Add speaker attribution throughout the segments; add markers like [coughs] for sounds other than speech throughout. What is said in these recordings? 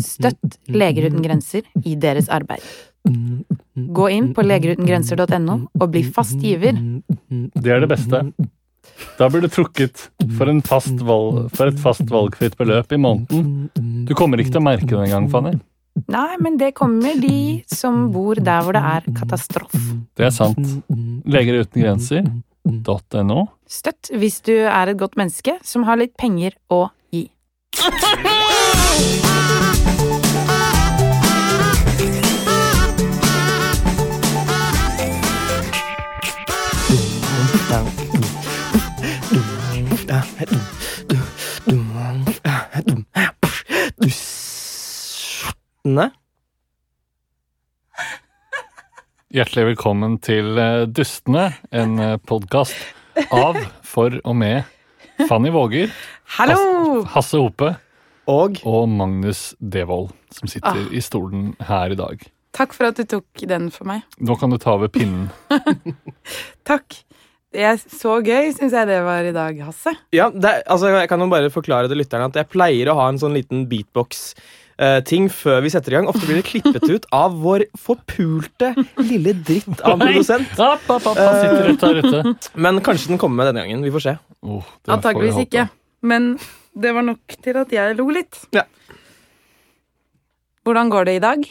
Speaker 1: Støtt Leger uten grenser i deres arbeid. Gå inn på legerutengrenser.no og bli fast giver.
Speaker 2: Det er det beste. Da blir du trukket for, en fast valg, for et fast valgfritt beløp i måneden. Du kommer ikke til å merke det engang, Fanny.
Speaker 1: Nei, men det kommer de som bor der hvor det er katastrof.
Speaker 2: Det er sant. Legerutengrenser.no.
Speaker 1: Støtt hvis du er et godt menneske som har litt penger å gi.
Speaker 3: Dustene?
Speaker 2: Hjertelig velkommen til eh, Dustene, en podkast av, for og med Fanny Våger,
Speaker 1: Hallo!
Speaker 2: Hasse Hope
Speaker 3: Og
Speaker 2: og Magnus Devold, som sitter
Speaker 1: Ah.
Speaker 2: i stolen her i dag.
Speaker 1: Takk for at du tok den for meg.
Speaker 2: Nå kan du ta over pinnen.
Speaker 1: Takk. Det er så gøy, syns jeg det var i dag, Hasse.
Speaker 3: Ja, det, er- altså, jeg kan jo bare forklare til lytterne at jeg pleier å ha en sånn liten beatbox-ting før vi setter i gang. Ofte blir det klippet ut av vår forpulte lille dritt av produsent.
Speaker 2: App, app, app, han sitter rett der ute.
Speaker 3: Men kanskje den kommer med denne gangen. Vi får se.
Speaker 2: Oh, det får vi
Speaker 1: Antakeligvis
Speaker 2: håpe.
Speaker 1: ikke. Men det var nok til at jeg lo litt.
Speaker 3: Ja.
Speaker 1: Hvordan går det i dag?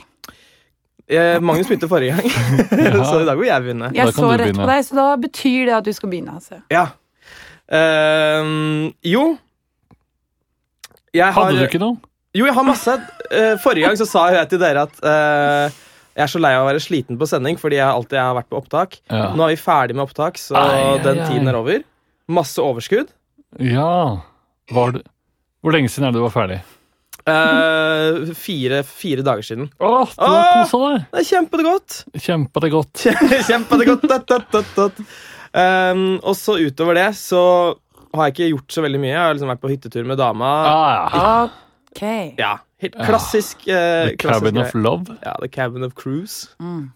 Speaker 3: Eh, Magnus begynte forrige gang, [laughs] så i dag vil jeg begynne.
Speaker 2: Da
Speaker 1: Jeg
Speaker 2: kan
Speaker 1: så
Speaker 2: du
Speaker 1: rett på
Speaker 2: begynne.
Speaker 1: deg, så da betyr det at du skal begynne. Hasse.
Speaker 3: Ja. Ehm, jo Jeg har
Speaker 2: Hadde du ikke noe?
Speaker 3: Jo, jeg har masse. Eh, forrige gang så sa jeg til dere at eh, jeg er så lei av å være sliten på sending fordi jeg alltid har vært på opptak.
Speaker 2: Ja.
Speaker 3: Nå er vi ferdig med opptak, så
Speaker 2: Ai, ai,
Speaker 3: den
Speaker 2: ai.
Speaker 3: tiden er over. Masse overskudd.
Speaker 2: Ja. Var det... Hvor lenge siden er det du var ferdig?
Speaker 3: Eh, fire, fire dager siden.
Speaker 2: Å, du har
Speaker 3: Åh!
Speaker 2: kosa deg!
Speaker 3: Det er
Speaker 2: [laughs]
Speaker 3: kjempegodt!
Speaker 2: Kjempa det godt.
Speaker 3: Kjempegodt! Dot, dot, dot, dot. Ehm, og så utover det så har jeg ikke gjort så veldig mye. Jeg har liksom vært på hyttetur med dama.
Speaker 2: Ah, ja.
Speaker 1: Ok.
Speaker 3: Ja, helt klassisk. eh,
Speaker 2: The
Speaker 3: klassisk
Speaker 2: Cabin of
Speaker 3: greie.
Speaker 2: Love.
Speaker 3: ja, The Cabin of Cruise.
Speaker 1: Mm.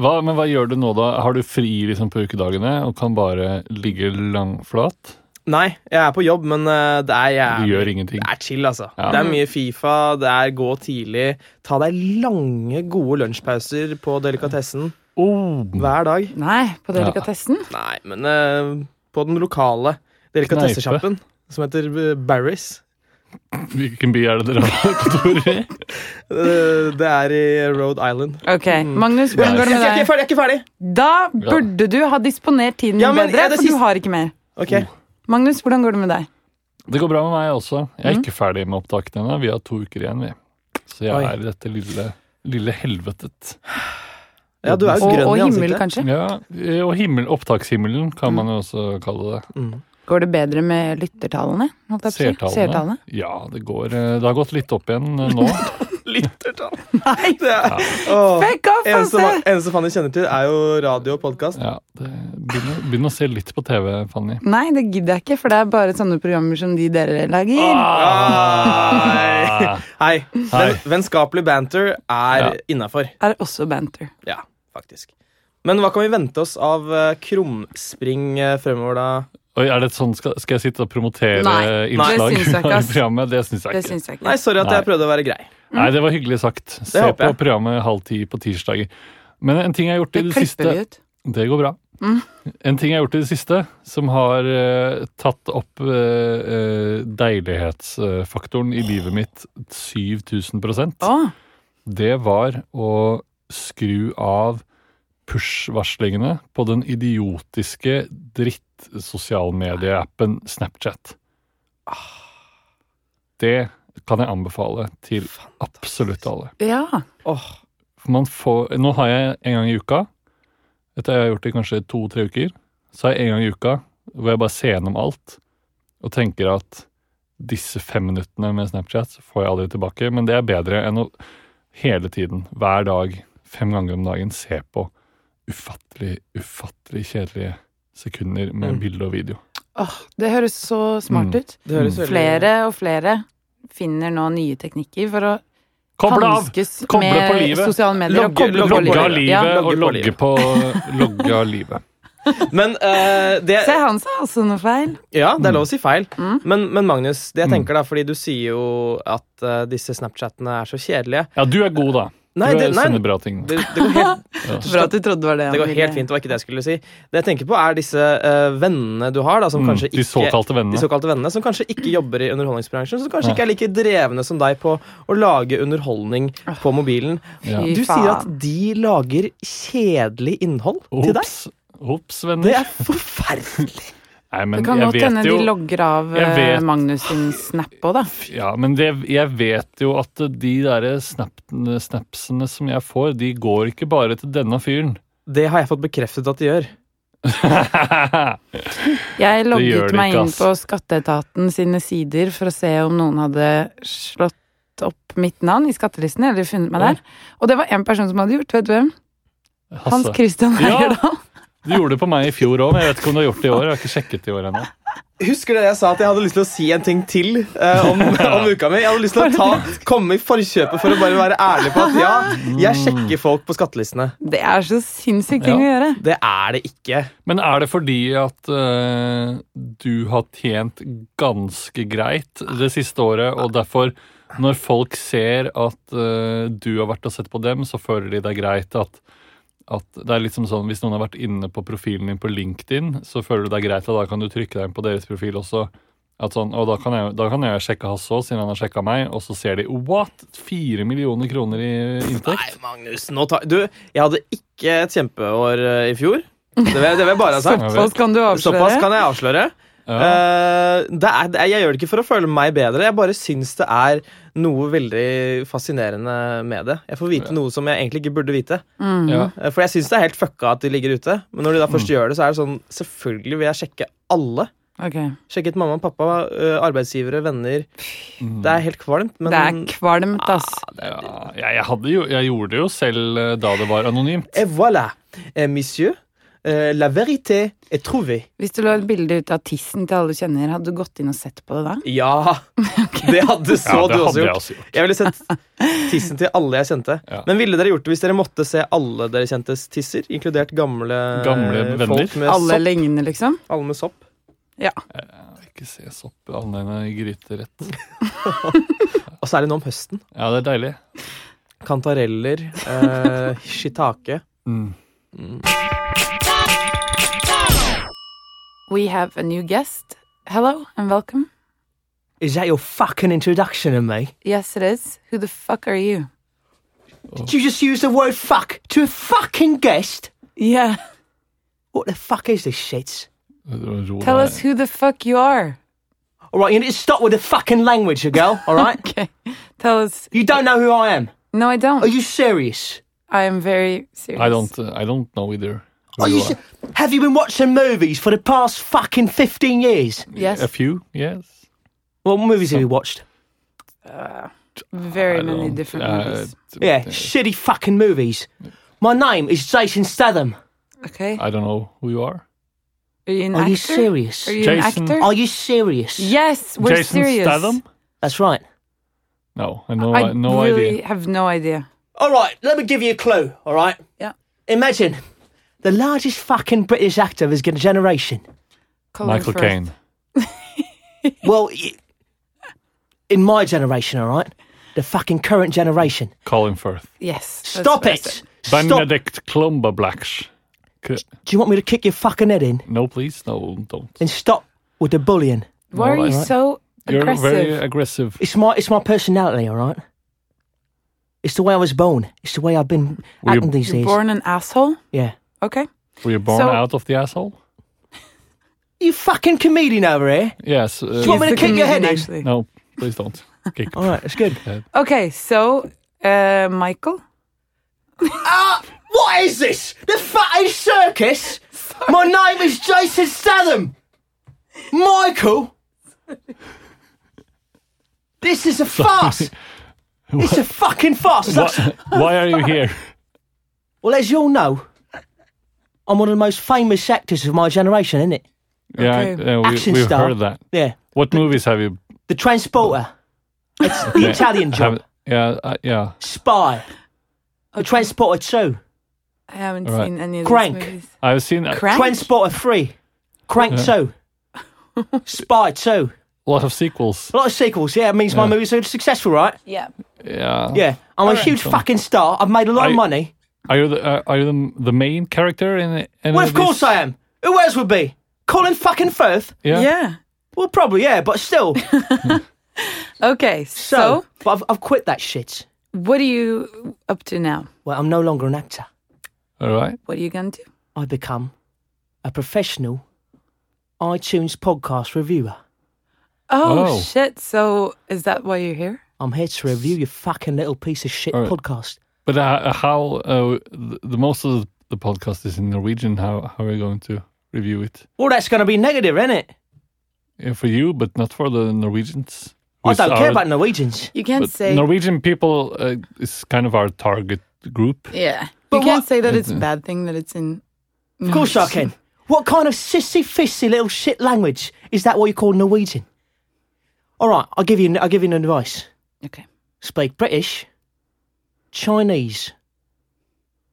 Speaker 2: Hva, men hva gjør du nå, da? Har du fri liksom på ukedagene og kan bare ligge langflat?
Speaker 3: Nei, jeg er på jobb, men eh, det er
Speaker 2: Du
Speaker 3: jeg
Speaker 2: gjør ingenting.
Speaker 3: Det er chill, altså.
Speaker 2: Ja.
Speaker 3: Det er mye Fifa, det er gå tidlig. Ta deg lange, gode lunsjpauser på delikatessen
Speaker 2: Oh,
Speaker 3: hver dag.
Speaker 1: Nei, på delikatessen?
Speaker 3: Nei, men eh, på den lokale delikatessesjappen som heter eh, Barry's.
Speaker 2: hvilken by er det dere har kontor i?
Speaker 3: Eh, det er i Rhode Island.
Speaker 1: Ok. Magnus,
Speaker 3: Jeg
Speaker 1: hvordan
Speaker 3: er
Speaker 1: går
Speaker 3: ikke- jeg
Speaker 1: det
Speaker 3: er ikke
Speaker 1: med deg?
Speaker 3: ferdig! Jeg er ikke ferdig.
Speaker 1: Da burde du ha disponert tiden
Speaker 3: Ja, men er
Speaker 1: bedre,
Speaker 3: det
Speaker 1: for du
Speaker 3: siste-
Speaker 1: har ikke mer.
Speaker 3: Ok,
Speaker 2: Oh.
Speaker 1: Magnus, hvordan går det med deg?
Speaker 2: Det går bra med meg også. Jeg er ikke ferdig med opptakene ennå. Vi har to uker igjen, vi. Så jeg
Speaker 3: Oi.
Speaker 2: er i dette lille, lille helvetet.
Speaker 3: Ja, du er jo
Speaker 1: Og,
Speaker 3: grønn
Speaker 1: og
Speaker 3: i
Speaker 1: himmel,
Speaker 3: ansiktet.
Speaker 1: kanskje?
Speaker 2: Ja, og himmel, opptakshimmelen kan man jo også kalle det.
Speaker 1: Går det bedre med lyttertallene? holdt jeg på å si?
Speaker 2: Seertallene. Ja, det går eh, Det har gått litt opp igjen eh, nå.
Speaker 3: [laughs] Lyttertall!
Speaker 1: Nei,
Speaker 3: Det er- Åh.
Speaker 1: fuck off, altså!
Speaker 3: Eneste,
Speaker 1: Hasse!
Speaker 3: fa- eneste Fanny kjenner til, er jo radio og podkast.
Speaker 2: Ja, det begynner, begynner å se litt på TV, Fanny.
Speaker 1: Nei, det gidder jeg ikke, for det er bare sånne programmer som de dere lager.
Speaker 3: Ah. Hei! Hei.
Speaker 2: Ah. Hei.
Speaker 3: Ven, vennskapelig banter er
Speaker 2: Ja.
Speaker 3: innenfor innafor.
Speaker 1: Er også banter.
Speaker 3: Ja, faktisk. Men hva kan vi vente oss av eh, krumspring eh, fremover, da?
Speaker 2: Oi, er det et sånt, skal, skal jeg sitte og promotere
Speaker 1: Nei, det syns
Speaker 2: innslag
Speaker 1: jeg ikke,
Speaker 2: [laughs] i
Speaker 1: ass.
Speaker 2: programmet? Det syns jeg
Speaker 1: Det Mm.
Speaker 2: ikke.
Speaker 1: syns jeg ikke.
Speaker 3: Nei, sorry at
Speaker 2: Nei.
Speaker 3: jeg prøvde å være grei.
Speaker 2: Nei, det var hyggelig sagt. Se
Speaker 3: håper
Speaker 2: på
Speaker 3: jeg.
Speaker 2: programmet halv ti på tirsdager. Men en ting jeg har gjort i
Speaker 1: det
Speaker 2: det, siste
Speaker 1: klipper vi ut. Mm.
Speaker 2: Det går bra. En ting jeg har gjort i det siste, som har eh, tatt opp eh, eh, deilighetsfaktoren i livet mitt 7000
Speaker 1: Å,
Speaker 2: det var å skru av push-varslingene på den idiotiske dritt-sosialmedieappen Snapchat. Det kan jeg anbefale til absolutt alle.
Speaker 1: ja.
Speaker 3: Åh,
Speaker 2: For man får, nå har jeg en gang i uka, dette har jeg gjort i kanskje to-tre uker, så har jeg en gang i uka hvor jeg bare ser gjennom alt og tenker at disse fem minuttene med Snapchat får jeg aldri tilbake, men det er bedre enn å hele tiden, hver dag, fem ganger om dagen, se på ufattelig, ufattelig kjedelige sekunder med
Speaker 3: Mm.
Speaker 2: bilde og video.
Speaker 1: Åh, det høres så smart
Speaker 2: Mm.
Speaker 1: ut.
Speaker 3: det høres
Speaker 2: Mm.
Speaker 3: veldig
Speaker 1: Flere og flere finner nå nye teknikker for å
Speaker 2: Koble av!
Speaker 1: hanskes
Speaker 2: Koble på
Speaker 1: med
Speaker 2: livet.
Speaker 1: sosiale medier. og
Speaker 3: Logge-
Speaker 1: koble på
Speaker 3: logge
Speaker 2: Logge av
Speaker 1: livet. Ja.
Speaker 2: livet og
Speaker 3: Logge på
Speaker 2: logge på Logge av livet.
Speaker 3: Men eh, det
Speaker 1: Se, han sa også noe feil.
Speaker 3: Ja, det er lov å si feil.
Speaker 1: Mm.
Speaker 3: Men, men Magnus, det jeg
Speaker 2: Mm.
Speaker 3: tenker da, fordi du sier jo at eh, disse Snapchatene er så kjedelige
Speaker 2: Ja, du er god, da. Du
Speaker 3: Nei, det, nei
Speaker 2: sender
Speaker 3: det,
Speaker 2: bra ting.
Speaker 3: det,
Speaker 1: [laughs]
Speaker 3: går helt,
Speaker 1: Bra at du trodde det var det. han
Speaker 3: det går
Speaker 1: ville.
Speaker 3: helt fint, det var ikke det jeg skulle si. Det jeg tenker på, er disse eh, vennene du har, da, som
Speaker 2: Mm,
Speaker 3: kanskje
Speaker 2: de
Speaker 3: ikke
Speaker 2: såkalte
Speaker 3: de
Speaker 2: vennene.
Speaker 3: såkalte vennene som kanskje ikke jobber i underholdningsbransjen, som kanskje ikke er like drevne som deg på å lage underholdning på mobilen.
Speaker 2: Ja.
Speaker 1: Ah. Fy
Speaker 3: Du sier at
Speaker 1: faen.
Speaker 3: de lager kjedelig innhold til deg.
Speaker 2: Ops, ops,
Speaker 3: Det
Speaker 2: venner.
Speaker 3: er forferdelig!
Speaker 2: [laughs] Nei,
Speaker 1: Det
Speaker 2: men
Speaker 1: kan
Speaker 2: jeg
Speaker 1: godt hende
Speaker 2: vet
Speaker 1: de
Speaker 2: jo
Speaker 1: logger av
Speaker 2: Jeg
Speaker 1: eh,
Speaker 2: vet-
Speaker 1: Magnus sin snap òg,
Speaker 2: [laughs]
Speaker 1: da.
Speaker 2: Ja, men det, jeg vet jo at de derre snap, snapsene som jeg får, de går ikke bare til denne fyren. [laughs]
Speaker 3: Det har jeg fått bekreftet at de gjør.
Speaker 1: Jeg
Speaker 2: gjør
Speaker 1: logget
Speaker 2: det
Speaker 1: meg
Speaker 2: ikke,
Speaker 1: inn
Speaker 2: ass.
Speaker 1: på Skatteetaten sine sider for å se om noen hadde slått opp mitt navn i skattelisten, eller funnet meg
Speaker 2: Oi.
Speaker 1: der. Og det var en person som hadde gjort, vet du hvem? Hans
Speaker 2: Hasse,
Speaker 1: Christian
Speaker 2: Ja.
Speaker 1: Heyerdahl.
Speaker 2: du Altså, gjorde det på meg i fjor òg, men jeg vet ikke om du har gjort det i år. Jeg har ikke sjekket i år ennå.
Speaker 3: Husker dere jeg sa at jeg hadde lyst til å si en ting til eh, om, om uka mi? Jeg hadde lyst til å ta, komme i forkjøpet for å bare være ærlig på at ja, jeg sjekker folk på skattelistene.
Speaker 1: Det er så sinnssykt ting å
Speaker 2: Ja.
Speaker 1: gjøre.
Speaker 3: Det er det ikke.
Speaker 2: Men er det fordi at eh, du har tjent ganske greit det siste året, og derfor når folk ser at eh, du har vært og sett på dem, så føler de det er greit at at det er liksom sånn, Hvis noen har vært inne på profilen din på LinkedIn, så føler du det er greit at da kan du trykke deg inn på deres profil også. At sånn, og da kan, jeg, da kan jeg sjekke Hasse òg, siden han har sjekka meg, og så ser de what? Fire millioner kroner i inntekt?
Speaker 3: Nei, Magnus, nå tar Du, jeg hadde ikke et kjempeår eh, i fjor. Det vil, det vil jeg bare ha sagt.
Speaker 1: Såpass kan du
Speaker 3: Altså, Såpass
Speaker 1: avsløre.
Speaker 3: kan jeg avsløre.
Speaker 2: Ja.
Speaker 3: Eh, det er, det er, jeg gjør det ikke for å føle meg bedre, jeg bare syns det er noe veldig fascinerende med det. Jeg får vite noe som jeg egentlig ikke burde vite.
Speaker 1: Mm.
Speaker 2: ja.
Speaker 3: Eh, For jeg syns det er helt fucka at de ligger ute, men når de da
Speaker 2: Mm.
Speaker 3: først gjør det, så er det sånn Selvfølgelig vil jeg sjekke alle.
Speaker 1: Ok.
Speaker 3: Sjekket mamma og pappa, eh, arbeidsgivere, venner.
Speaker 2: Mm.
Speaker 3: Det er helt kvalmt, men
Speaker 1: Det er kvalmt, ass.
Speaker 2: Ja, jeg, jeg, hadde jo, jeg gjorde det jo selv eh, da det var anonymt.
Speaker 3: Et voilà, Eh, monsieur. eh, la vérité est trouvée.
Speaker 1: Hvis du la et bilde ut av tissen til alle du kjenner, hadde du gått inn og sett på det da? [laughs]
Speaker 3: Ja! Det hadde så
Speaker 2: Ja, det
Speaker 3: du også
Speaker 2: hadde jeg
Speaker 3: gjort.
Speaker 2: også gjort.
Speaker 3: Jeg ville sett tissen til alle jeg kjente.
Speaker 2: Ja.
Speaker 3: Men ville dere gjort det hvis dere måtte se alle dere kjentes tisser? Inkludert gamle,
Speaker 2: Gamle venner?
Speaker 3: folk med
Speaker 1: Alle
Speaker 3: sopp?
Speaker 1: lignende, liksom?
Speaker 3: Alle med sopp?
Speaker 2: Jeg vil ikke se sopp annet enn i gryterett.
Speaker 3: Og særlig nå om høsten.
Speaker 2: Ja, det er deilig.
Speaker 3: Kantareller,
Speaker 1: [laughs]
Speaker 3: eh, shiitake.
Speaker 2: Mm.
Speaker 1: We have a new guest. Hello and welcome.
Speaker 3: Is that your fucking introduction of me?
Speaker 1: Yes, it is. Who the fuck are you?
Speaker 4: Did you just use the word fuck to a fucking guest?
Speaker 1: Yeah.
Speaker 4: What the fuck is this shit?
Speaker 2: Ro
Speaker 1: Tell
Speaker 2: deg.
Speaker 1: us who the fuck you are.
Speaker 4: All right, you need to stop with the fucking language, you girl, all right?
Speaker 1: Okay. Tell us.
Speaker 4: you don't know who I am.
Speaker 1: No, I
Speaker 4: Are
Speaker 1: don't.
Speaker 4: you serious?
Speaker 1: I am very serious.
Speaker 2: I don't, I don't know either. who
Speaker 1: Oh,
Speaker 4: Are Oh, you
Speaker 2: you
Speaker 4: se- have you been watching movies for the past fucking 15 years?
Speaker 1: Yes.
Speaker 2: A few, yes.
Speaker 4: What movies have you watched?
Speaker 1: Very
Speaker 2: I
Speaker 1: many
Speaker 2: don't-
Speaker 1: different
Speaker 2: uh,
Speaker 1: movies.
Speaker 4: Yeah, shitty fucking movies. My name is Jason Statham.
Speaker 1: Okay.
Speaker 2: I don't know who you are.
Speaker 1: Are you an
Speaker 4: Are
Speaker 1: actor?
Speaker 4: you serious?
Speaker 1: Are you
Speaker 2: Jason-
Speaker 1: an actor?
Speaker 4: Are you serious?
Speaker 1: Yes, we're
Speaker 2: Jason
Speaker 1: serious.
Speaker 2: Statham?
Speaker 4: That's right.
Speaker 2: No, I no,
Speaker 1: I
Speaker 2: no
Speaker 1: really
Speaker 2: idea.
Speaker 1: have no idea.
Speaker 4: All right, let me give you a clue, all right?
Speaker 1: Yeah.
Speaker 4: Imagine the largest fucking British actor of his generation.
Speaker 1: Colin
Speaker 2: Michael
Speaker 1: Firth.
Speaker 2: Caine.
Speaker 4: Well, y- in my generation, all right? The fucking current generation.
Speaker 2: Colin Firth.
Speaker 1: Yes. that's
Speaker 4: Stop
Speaker 1: what I
Speaker 4: it!
Speaker 1: said.
Speaker 4: Stop. Do
Speaker 2: Benedict Cumberbatch. K-
Speaker 4: you want me to kick your fucking head in?
Speaker 2: No, please, no, don't.
Speaker 4: Then stop with the bullying.
Speaker 1: Why
Speaker 2: No,
Speaker 1: are you
Speaker 2: I-
Speaker 1: so
Speaker 2: You're
Speaker 1: aggressive?
Speaker 2: very aggressive.
Speaker 4: It's my it's my personality, all right? It's the way I was born. It's the way I've been
Speaker 2: Were you-
Speaker 4: acting these
Speaker 1: You're
Speaker 4: days.
Speaker 1: born an asshole?
Speaker 4: Yeah.
Speaker 1: Okay.
Speaker 2: Were you born
Speaker 1: So-
Speaker 2: out of the asshole?
Speaker 4: You fucking comedian over here.
Speaker 2: Yes.
Speaker 4: Do you
Speaker 2: Uh,
Speaker 4: want me to
Speaker 1: He's a
Speaker 4: kick your head
Speaker 1: comedian,
Speaker 4: in?
Speaker 1: actually.
Speaker 2: no, please don't.
Speaker 1: [laughs]
Speaker 2: Kick
Speaker 4: All right,
Speaker 2: [laughs]
Speaker 4: that's good.
Speaker 1: Okay, so uh, Michael.
Speaker 4: Ah, what is this? The fucking circus? My name is Jason Statham. Michael. This is
Speaker 2: [laughs]
Speaker 4: a farce. It's a fucking farce. That's-
Speaker 2: Why are you here?
Speaker 4: Well, as you all know, I'm one of the most famous actors of my generation, isn't it?
Speaker 2: Yeah,
Speaker 1: Okay.
Speaker 2: I- uh, we,
Speaker 4: Action
Speaker 2: we've
Speaker 4: star.
Speaker 2: heard that.
Speaker 4: Yeah.
Speaker 2: What movies have you?
Speaker 4: The Transporter.
Speaker 2: [laughs]
Speaker 4: It's the Italian job.
Speaker 2: Have, yeah, uh, yeah.
Speaker 4: Spy. The Transporter 2.
Speaker 1: I haven't
Speaker 2: Right.
Speaker 1: seen any of
Speaker 4: Crank.
Speaker 1: these movies.
Speaker 2: I've seen uh, a
Speaker 1: Crank?
Speaker 4: Transporter 3. Crank
Speaker 2: Yeah.
Speaker 4: 2. Spy 2.
Speaker 2: lot of sequels.
Speaker 4: A lot of sequels, yeah. It means my
Speaker 2: Yeah.
Speaker 4: movies are successful, right?
Speaker 1: Yeah.
Speaker 2: Yeah.
Speaker 4: Yeah. I'm a
Speaker 1: Alright.
Speaker 4: huge fucking star. I've made a lot
Speaker 2: I-
Speaker 4: of money.
Speaker 2: Are you the uh, are you the, the main character in any
Speaker 4: Well,
Speaker 2: of
Speaker 4: of course
Speaker 2: these?
Speaker 4: I am. Who else would be? Colin fucking Firth?
Speaker 2: Yeah.
Speaker 1: Yeah.
Speaker 4: Well, probably, yeah, but still.
Speaker 1: Okay,
Speaker 4: So,
Speaker 1: so
Speaker 4: but I've, I've quit that shit.
Speaker 1: what are you up to now?
Speaker 4: Well, I'm no longer an actor.
Speaker 2: All right.
Speaker 1: What are you gonna do?
Speaker 4: I become a professional iTunes podcast reviewer.
Speaker 1: Oh,
Speaker 2: Oh.
Speaker 1: shit. So is that why you're here?
Speaker 4: I'm here to review your fucking little piece of shit
Speaker 2: All right.
Speaker 4: podcast.
Speaker 2: But uh, how uh, the, the most of the podcast is in Norwegian. How how are you going to review it
Speaker 4: Well, that's going to be negative, isn't it?
Speaker 2: yeah, for you, but not for the Norwegians?
Speaker 4: I
Speaker 2: who's
Speaker 4: don't care
Speaker 2: our-
Speaker 4: about Norwegians.
Speaker 1: You can't
Speaker 2: but
Speaker 1: say
Speaker 2: Norwegian people uh, is kind of our target group.
Speaker 1: Yeah.
Speaker 4: But
Speaker 1: you can't
Speaker 4: what-
Speaker 1: say that it's a bad thing that it's in
Speaker 4: Of course I can. What kind of sissy fissy little shit language is that? What you call Norwegian? All right, I'll give you. I'll give you an advice.
Speaker 1: Mm. Okay.
Speaker 4: Speak British, Chinese,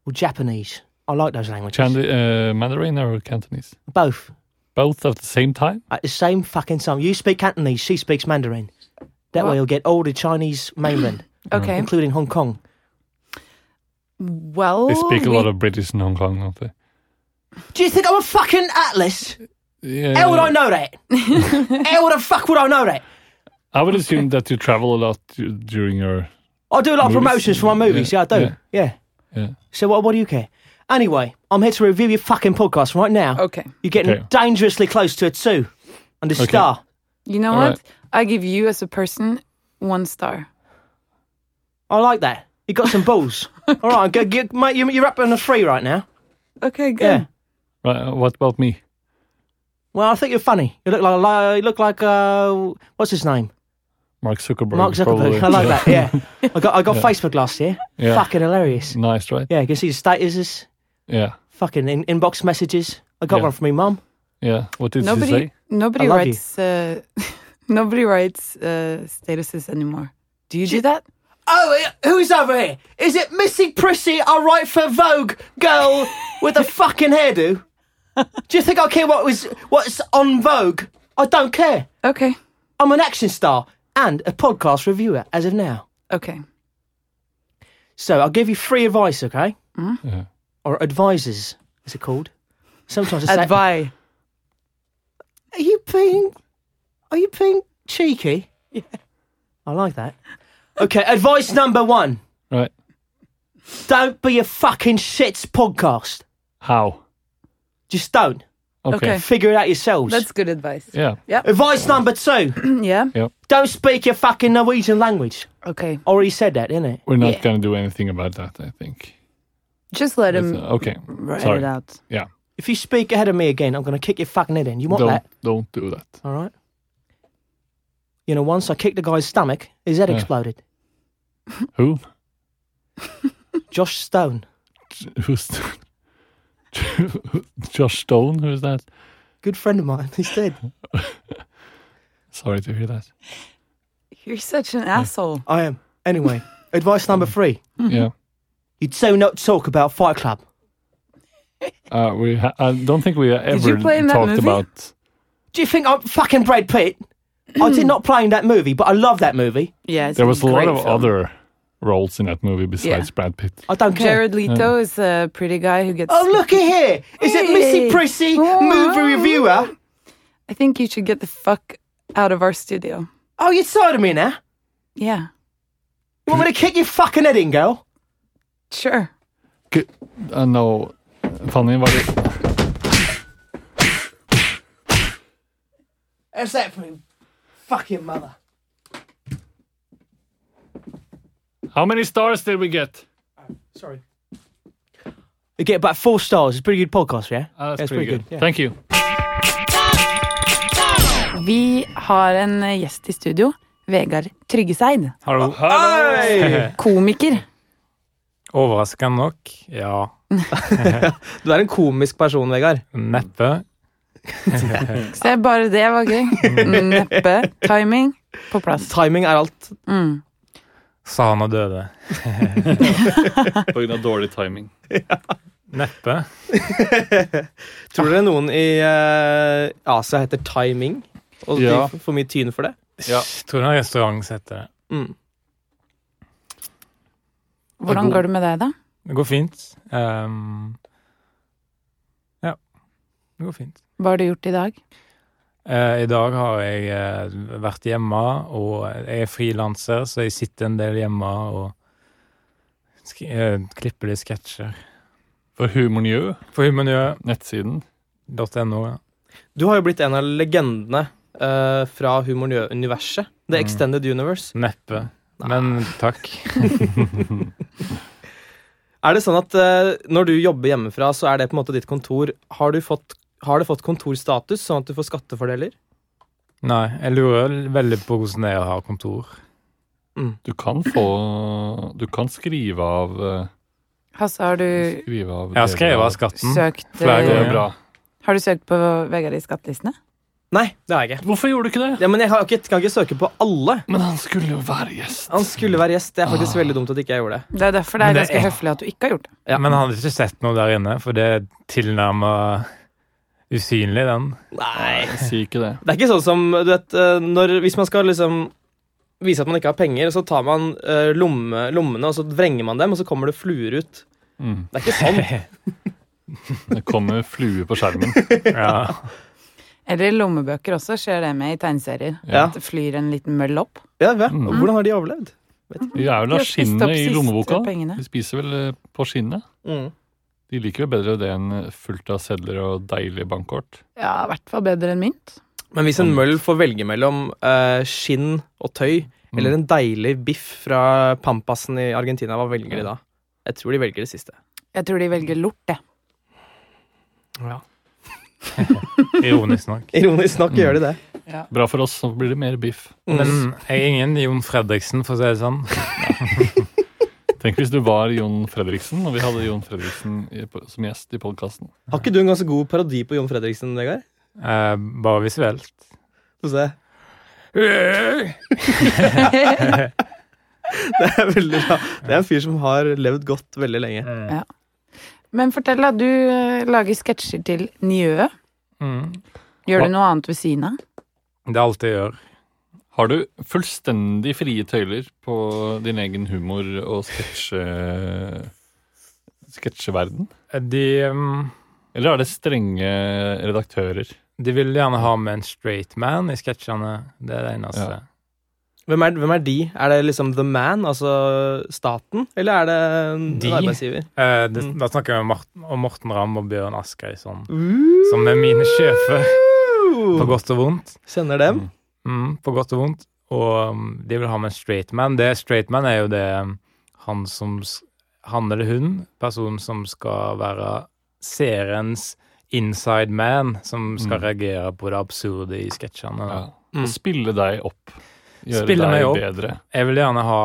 Speaker 4: or Japanese. I like those languages.
Speaker 2: Chandi- uh, Mandarin or Cantonese?
Speaker 4: Both
Speaker 2: Both at the same time?
Speaker 4: at the same fucking time. You speak Cantonese. She speaks Mandarin. That
Speaker 1: What?
Speaker 4: way, you'll get all the Chinese [coughs] mainland,
Speaker 1: Okay.
Speaker 4: including Hong Kong.
Speaker 1: Well
Speaker 2: They speak a
Speaker 1: we-
Speaker 2: lot of British in Hong Kong, don't they?
Speaker 4: Do you think I'm a fucking atlas?
Speaker 2: Yeah.
Speaker 4: How would I
Speaker 2: [laughs]
Speaker 4: know that? How the fuck would I know that?
Speaker 2: I would assume that you travel a lot d- during your.
Speaker 4: I do a lot of
Speaker 2: Movies.
Speaker 4: promotions for my movies. Yeah,
Speaker 2: Yeah,
Speaker 4: I do.
Speaker 2: yeah.
Speaker 4: Yeah.
Speaker 2: Yeah.
Speaker 4: So what, what do you care? Anyway, I'm here to review your fucking podcast right now.
Speaker 1: Okay.
Speaker 4: You're getting
Speaker 2: Oh, Okay.
Speaker 4: dangerously close to a two and a
Speaker 2: Okay.
Speaker 4: star.
Speaker 1: You know
Speaker 2: All
Speaker 1: what?
Speaker 2: right.
Speaker 1: I give you as a person one star.
Speaker 4: I like that. You got some
Speaker 2: [laughs]
Speaker 4: balls. All right, go, go, mate, you- you're up on a three right now.
Speaker 1: Okay, good.
Speaker 4: Yeah.
Speaker 2: Right, uh, what about me?
Speaker 4: Well, I think you're funny. You look like, like you look like uh, what's his name?
Speaker 2: Mark Zuckerberg.
Speaker 4: Mark
Speaker 2: probably.
Speaker 4: Zuckerberg. I like that. Yeah, I got I got Facebook last year.
Speaker 2: [laughs] Yeah.
Speaker 4: Fucking hilarious.
Speaker 2: Nice, right?
Speaker 4: Yeah, you can see the statuses,
Speaker 2: Yeah.
Speaker 4: fucking in, inbox messages. I got
Speaker 2: Yeah.
Speaker 4: one from my mum.
Speaker 2: Yeah. What did he
Speaker 1: Nobody
Speaker 2: say?
Speaker 1: nobody
Speaker 4: I love
Speaker 1: writes uh, [laughs] nobody writes uh, statuses anymore. Do you do that?
Speaker 4: Oh, who's over here? Is it Missy Prissy, I write for Vogue girl with a fucking hairdo? Do you think I care what was what's on Vogue? I don't care.
Speaker 1: Okay.
Speaker 4: I'm an action star and a podcast reviewer as of now.
Speaker 1: Okay.
Speaker 4: So I'll give you free advice, okay?
Speaker 2: Yeah.
Speaker 4: Or advisors, is it called? Sometimes I say,
Speaker 1: Advi.
Speaker 4: "Are you being, are you being cheeky?" Yeah, I like that. Okay, advice number one:
Speaker 2: Right.
Speaker 4: Don't be a fucking shits podcast.
Speaker 2: How?
Speaker 4: Just don't.
Speaker 2: Okay.
Speaker 1: Okay.
Speaker 4: Figure it out yourselves.
Speaker 1: That's good advice.
Speaker 2: Yeah.
Speaker 4: Advice number two:
Speaker 1: [clears throat] yeah.
Speaker 4: Don't speak your fucking Norwegian language.
Speaker 1: Okay.
Speaker 4: Already said that, didn't it?
Speaker 2: We're not
Speaker 1: Yeah.
Speaker 2: going to do anything about that, I think.
Speaker 1: Just let him
Speaker 4: um,
Speaker 2: That's, uh, okay.
Speaker 1: write
Speaker 2: Sorry.
Speaker 1: it out.
Speaker 2: Yeah.
Speaker 4: If you speak ahead of me again, I'm gonna kick your fucking head in. You want
Speaker 2: don't,
Speaker 4: that?
Speaker 2: don't do that.
Speaker 4: All right. You know, once I kicked the guy's stomach, his head
Speaker 2: Yeah.
Speaker 4: exploded.
Speaker 2: Who? [laughs]
Speaker 4: Josh Stone,
Speaker 2: J- Who's. [laughs] Josh Stone? Who's that?
Speaker 4: good friend of mine, [laughs] he's dead.
Speaker 2: Sorry to hear that.
Speaker 1: You're such an asshole.
Speaker 4: I am. Anyway, advice number three:
Speaker 2: Yeah.
Speaker 4: You do not talk about Fight Club.
Speaker 2: Uh, we ha- I don't think we ever
Speaker 1: you play in that
Speaker 2: talked
Speaker 1: movie?
Speaker 2: about.
Speaker 4: Do you think I'm fucking Brad Pitt? I did not play in that movie, but I love that movie.
Speaker 1: Yeah. it's
Speaker 2: There was a lot
Speaker 1: great
Speaker 2: of
Speaker 1: film.
Speaker 2: other roles in that movie besides Brad Pitt.
Speaker 4: I don't care.
Speaker 1: Jared Leto is a pretty guy who gets.
Speaker 4: Oh, looky here! Is it Missy
Speaker 1: Hey.
Speaker 4: Prissy, movie reviewer?
Speaker 1: I think you should get the fuck out of our studio.
Speaker 4: Oh, you're tired of me now?
Speaker 1: Yeah.
Speaker 4: You want me to kick your fucking head in, girl?
Speaker 1: Sure.
Speaker 2: Gu- Uh, no, Fanny, var det
Speaker 4: How's that for me? Fucking mother.
Speaker 2: How many stars did we get?
Speaker 4: Sorry. You get about four stars. It's a pretty good podcast, yeah?
Speaker 2: Ah, that's,
Speaker 4: That's
Speaker 2: pretty,
Speaker 4: pretty
Speaker 2: good.
Speaker 4: good, yeah.
Speaker 2: Thank you.
Speaker 1: Vi har en eh, gjest i studio. Vegard Tryggeseid.
Speaker 5: Hallo.
Speaker 4: Hei!
Speaker 1: Komiker.
Speaker 5: [laughs] Overraskende nok. Ja.
Speaker 3: Du er en komisk person, Vegard.
Speaker 5: Neppe.
Speaker 1: Se, bare det var gøy. Mm, Neppe. Timing på plass.
Speaker 3: Timing er alt.
Speaker 1: Mm.
Speaker 5: Sa han og døde.
Speaker 2: På grunn av dårlig timing.
Speaker 5: Neppe.
Speaker 3: Tror dere noen i eh, Asia heter timing? Og
Speaker 2: Ja.
Speaker 3: de f- får mye tyn for det?
Speaker 2: Ja.
Speaker 5: Tror det er en restaurant som heter det.
Speaker 3: Mm.
Speaker 1: Hvordan går det med deg, da?
Speaker 5: Det går fint. Ehm, ja. Det går fint.
Speaker 1: Hva har du gjort i dag?
Speaker 5: Eh, I dag har jeg eh, vært hjemme, og jeg er frilanser, så jeg sitter en del hjemme og sk eh, klipper litt sketsjer.
Speaker 2: For Humornjø,
Speaker 5: På humanø.no.
Speaker 2: nettsiden.
Speaker 5: ja.
Speaker 3: Du har jo blitt en av legendene eh, fra humoruniverset. The Extended Universe.
Speaker 5: Neppe. Men takk.
Speaker 3: Er det sånn at eh, når du jobber hjemmefra, så er det på en måte ditt kontor. Har, du fått, har det fått kontorstatus, sånn at du får skattefordeler?
Speaker 5: Nei, jeg lurer veldig på hvordan jeg har kontor.
Speaker 2: Du kan få Du kan skrive av eh,
Speaker 1: Hasse, har du
Speaker 2: Skrive av
Speaker 5: Jeg har skrevet av
Speaker 2: deler
Speaker 5: skatten.
Speaker 1: søkt
Speaker 5: Mm. Flere
Speaker 2: av- Det
Speaker 5: ganger.
Speaker 1: eh,
Speaker 2: er bra.
Speaker 1: Har du søkt på Vegard i skattelistene?
Speaker 3: Nei, det har jeg ikke.
Speaker 2: Hvorfor gjorde du ikke det?
Speaker 3: Ja, men jeg har ikke, kan ikke søke på alle.
Speaker 2: Men han skulle jo være gjest.
Speaker 3: Han skulle være gjest. Det er faktisk veldig dumt at ikke jeg gjorde det.
Speaker 1: Det er derfor det
Speaker 5: Men
Speaker 1: er
Speaker 5: det
Speaker 1: ganske
Speaker 5: er-
Speaker 1: høflig at du ikke har gjort det.
Speaker 3: Ja.
Speaker 5: Men han hadde ikke sett noe der inne, for det er tilnærma usynlig, den.
Speaker 3: Nei.
Speaker 2: Si ikke det.
Speaker 3: Det er ikke sånn som du vet, eh, når, Hvis man skal liksom vise at man ikke har penger, så tar man eh, lomme, lommene og så vrenger man dem, og så kommer det fluer ut.
Speaker 2: Mm.
Speaker 3: Det er ikke [laughs] sånn.
Speaker 2: Det kommer flue på skjermen.
Speaker 5: Ja.
Speaker 1: Eller i lommebøker også, skjer det med i tegneserier.
Speaker 3: Ja.
Speaker 1: At det flyr en liten møll opp.
Speaker 3: Ja, ja.
Speaker 2: Mm.
Speaker 3: Hvordan har de overlevd?
Speaker 2: De er vel
Speaker 1: De
Speaker 2: av
Speaker 1: har spist opp
Speaker 2: skinnet i
Speaker 1: siste
Speaker 2: lommeboka.
Speaker 1: pengene.
Speaker 2: De spiser vel eh, på skinnet.
Speaker 3: Mm.
Speaker 2: De liker vel bedre det enn eh, fullt av sedler og deilig bankkort.
Speaker 1: Ja, i hvert fall bedre enn mynt.
Speaker 3: Men hvis en møll får velge mellom eh, skinn og tøy,
Speaker 2: Mm.
Speaker 3: eller en deilig biff fra Pampasen i Argentina, hva velger de da? Jeg tror de velger det siste.
Speaker 1: Jeg tror de velger lort, jeg.
Speaker 5: Ironisk
Speaker 3: [laughs]
Speaker 5: nok.
Speaker 3: Ironisk nok gjør de det.
Speaker 2: Bra for oss, så blir det mer biff.
Speaker 3: Mm.
Speaker 5: Men jeg er ingen Jon Fredriksen, for å si det sånn.
Speaker 2: Tenk hvis du var Jon Fredriksen, og vi hadde Jon Fredriksen i, på, som gjest i podkasten.
Speaker 3: Har ikke du en ganske god parodi på Jon Fredriksen, Vegard?
Speaker 5: Eh, bare visuelt.
Speaker 3: Få se. [laughs]
Speaker 5: Ja,
Speaker 3: Det er veldig bra. Det er en fyr som har levd godt veldig lenge.
Speaker 1: Men fortell, da. Du eh, lager sketsjer til Njø.
Speaker 5: Mm.
Speaker 1: Gjør
Speaker 2: Hva?
Speaker 1: du noe annet ved siden av?
Speaker 5: Det er alt jeg gjør.
Speaker 2: Har du fullstendig frie tøyler på din egen humor og sketsje... sketsjeverden?
Speaker 5: De, mm,
Speaker 2: Eller er det strenge redaktører?
Speaker 5: de vil gjerne ha med en straight man i sketsjene. Det er det eneste.
Speaker 2: Ja.
Speaker 3: Hvem er, hvem er de? Er det liksom The Man, altså staten, eller er det en
Speaker 5: De?
Speaker 3: arbeidsgiver?
Speaker 5: Eh, det,
Speaker 3: Mm.
Speaker 5: Da snakker vi om Morten, om Morten Ramm og Bjørn Askøy, sånn.
Speaker 3: Uh,
Speaker 5: som er mine sjefer. [laughs] På godt og vondt.
Speaker 3: Kjenner dem?
Speaker 5: Mm, på godt og vondt. Og mm, de vil ha med en straight man. Det straight man er jo det mm, han som s- Han eller hun, personen som skal være seriens inside man, som skal
Speaker 2: Mm.
Speaker 5: reagere på det absurde i sketsjene. da.
Speaker 2: Ja. Og spille deg opp. Gjøre
Speaker 5: Spille meg
Speaker 2: deg
Speaker 5: opp.
Speaker 2: bedre.
Speaker 5: Jeg vil gjerne ha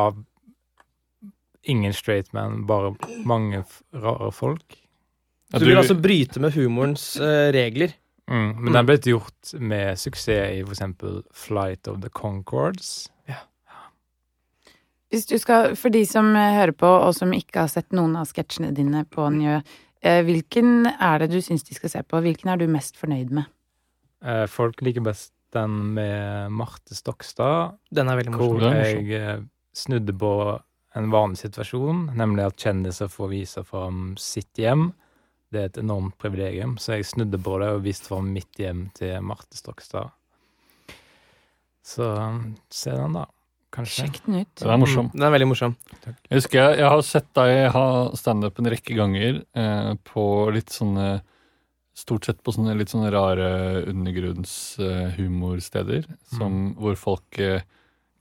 Speaker 5: ingen straight man, bare mange f rare folk.
Speaker 2: Ja,
Speaker 3: Du vil altså bryte med humorens eh, regler.
Speaker 5: Mm. Men det er blitt gjort med suksess i f.eks. Flight of the Concords.
Speaker 1: Hvis du skal, for de som eh, hører på, og som ikke har sett noen av sketsjene dine på Njø, eh, hvilken er det du syns de skal se på? Hvilken er du mest fornøyd med?
Speaker 5: Eh, folk liker best den med Marte Stokstad,
Speaker 3: Den er veldig morsom.
Speaker 5: hvor
Speaker 2: Det er morsomt.
Speaker 5: jeg eh, snudde på en vanlig situasjon, nemlig at kjendiser får vise fram sitt hjem. Det er et enormt privilegium, så jeg snudde på det og viste fram mitt hjem til Marte Stokstad. Så um, se den, da. Kanskje.
Speaker 1: Sjekk den ut.
Speaker 2: Det er morsom.
Speaker 3: Mm, Den er veldig morsom.
Speaker 2: Jeg husker jeg, jeg har sett deg ha standup en rekke ganger eh, på litt sånne Stort sett på sånne litt sånne rare undergrunnshumorsteder hvor folk eh,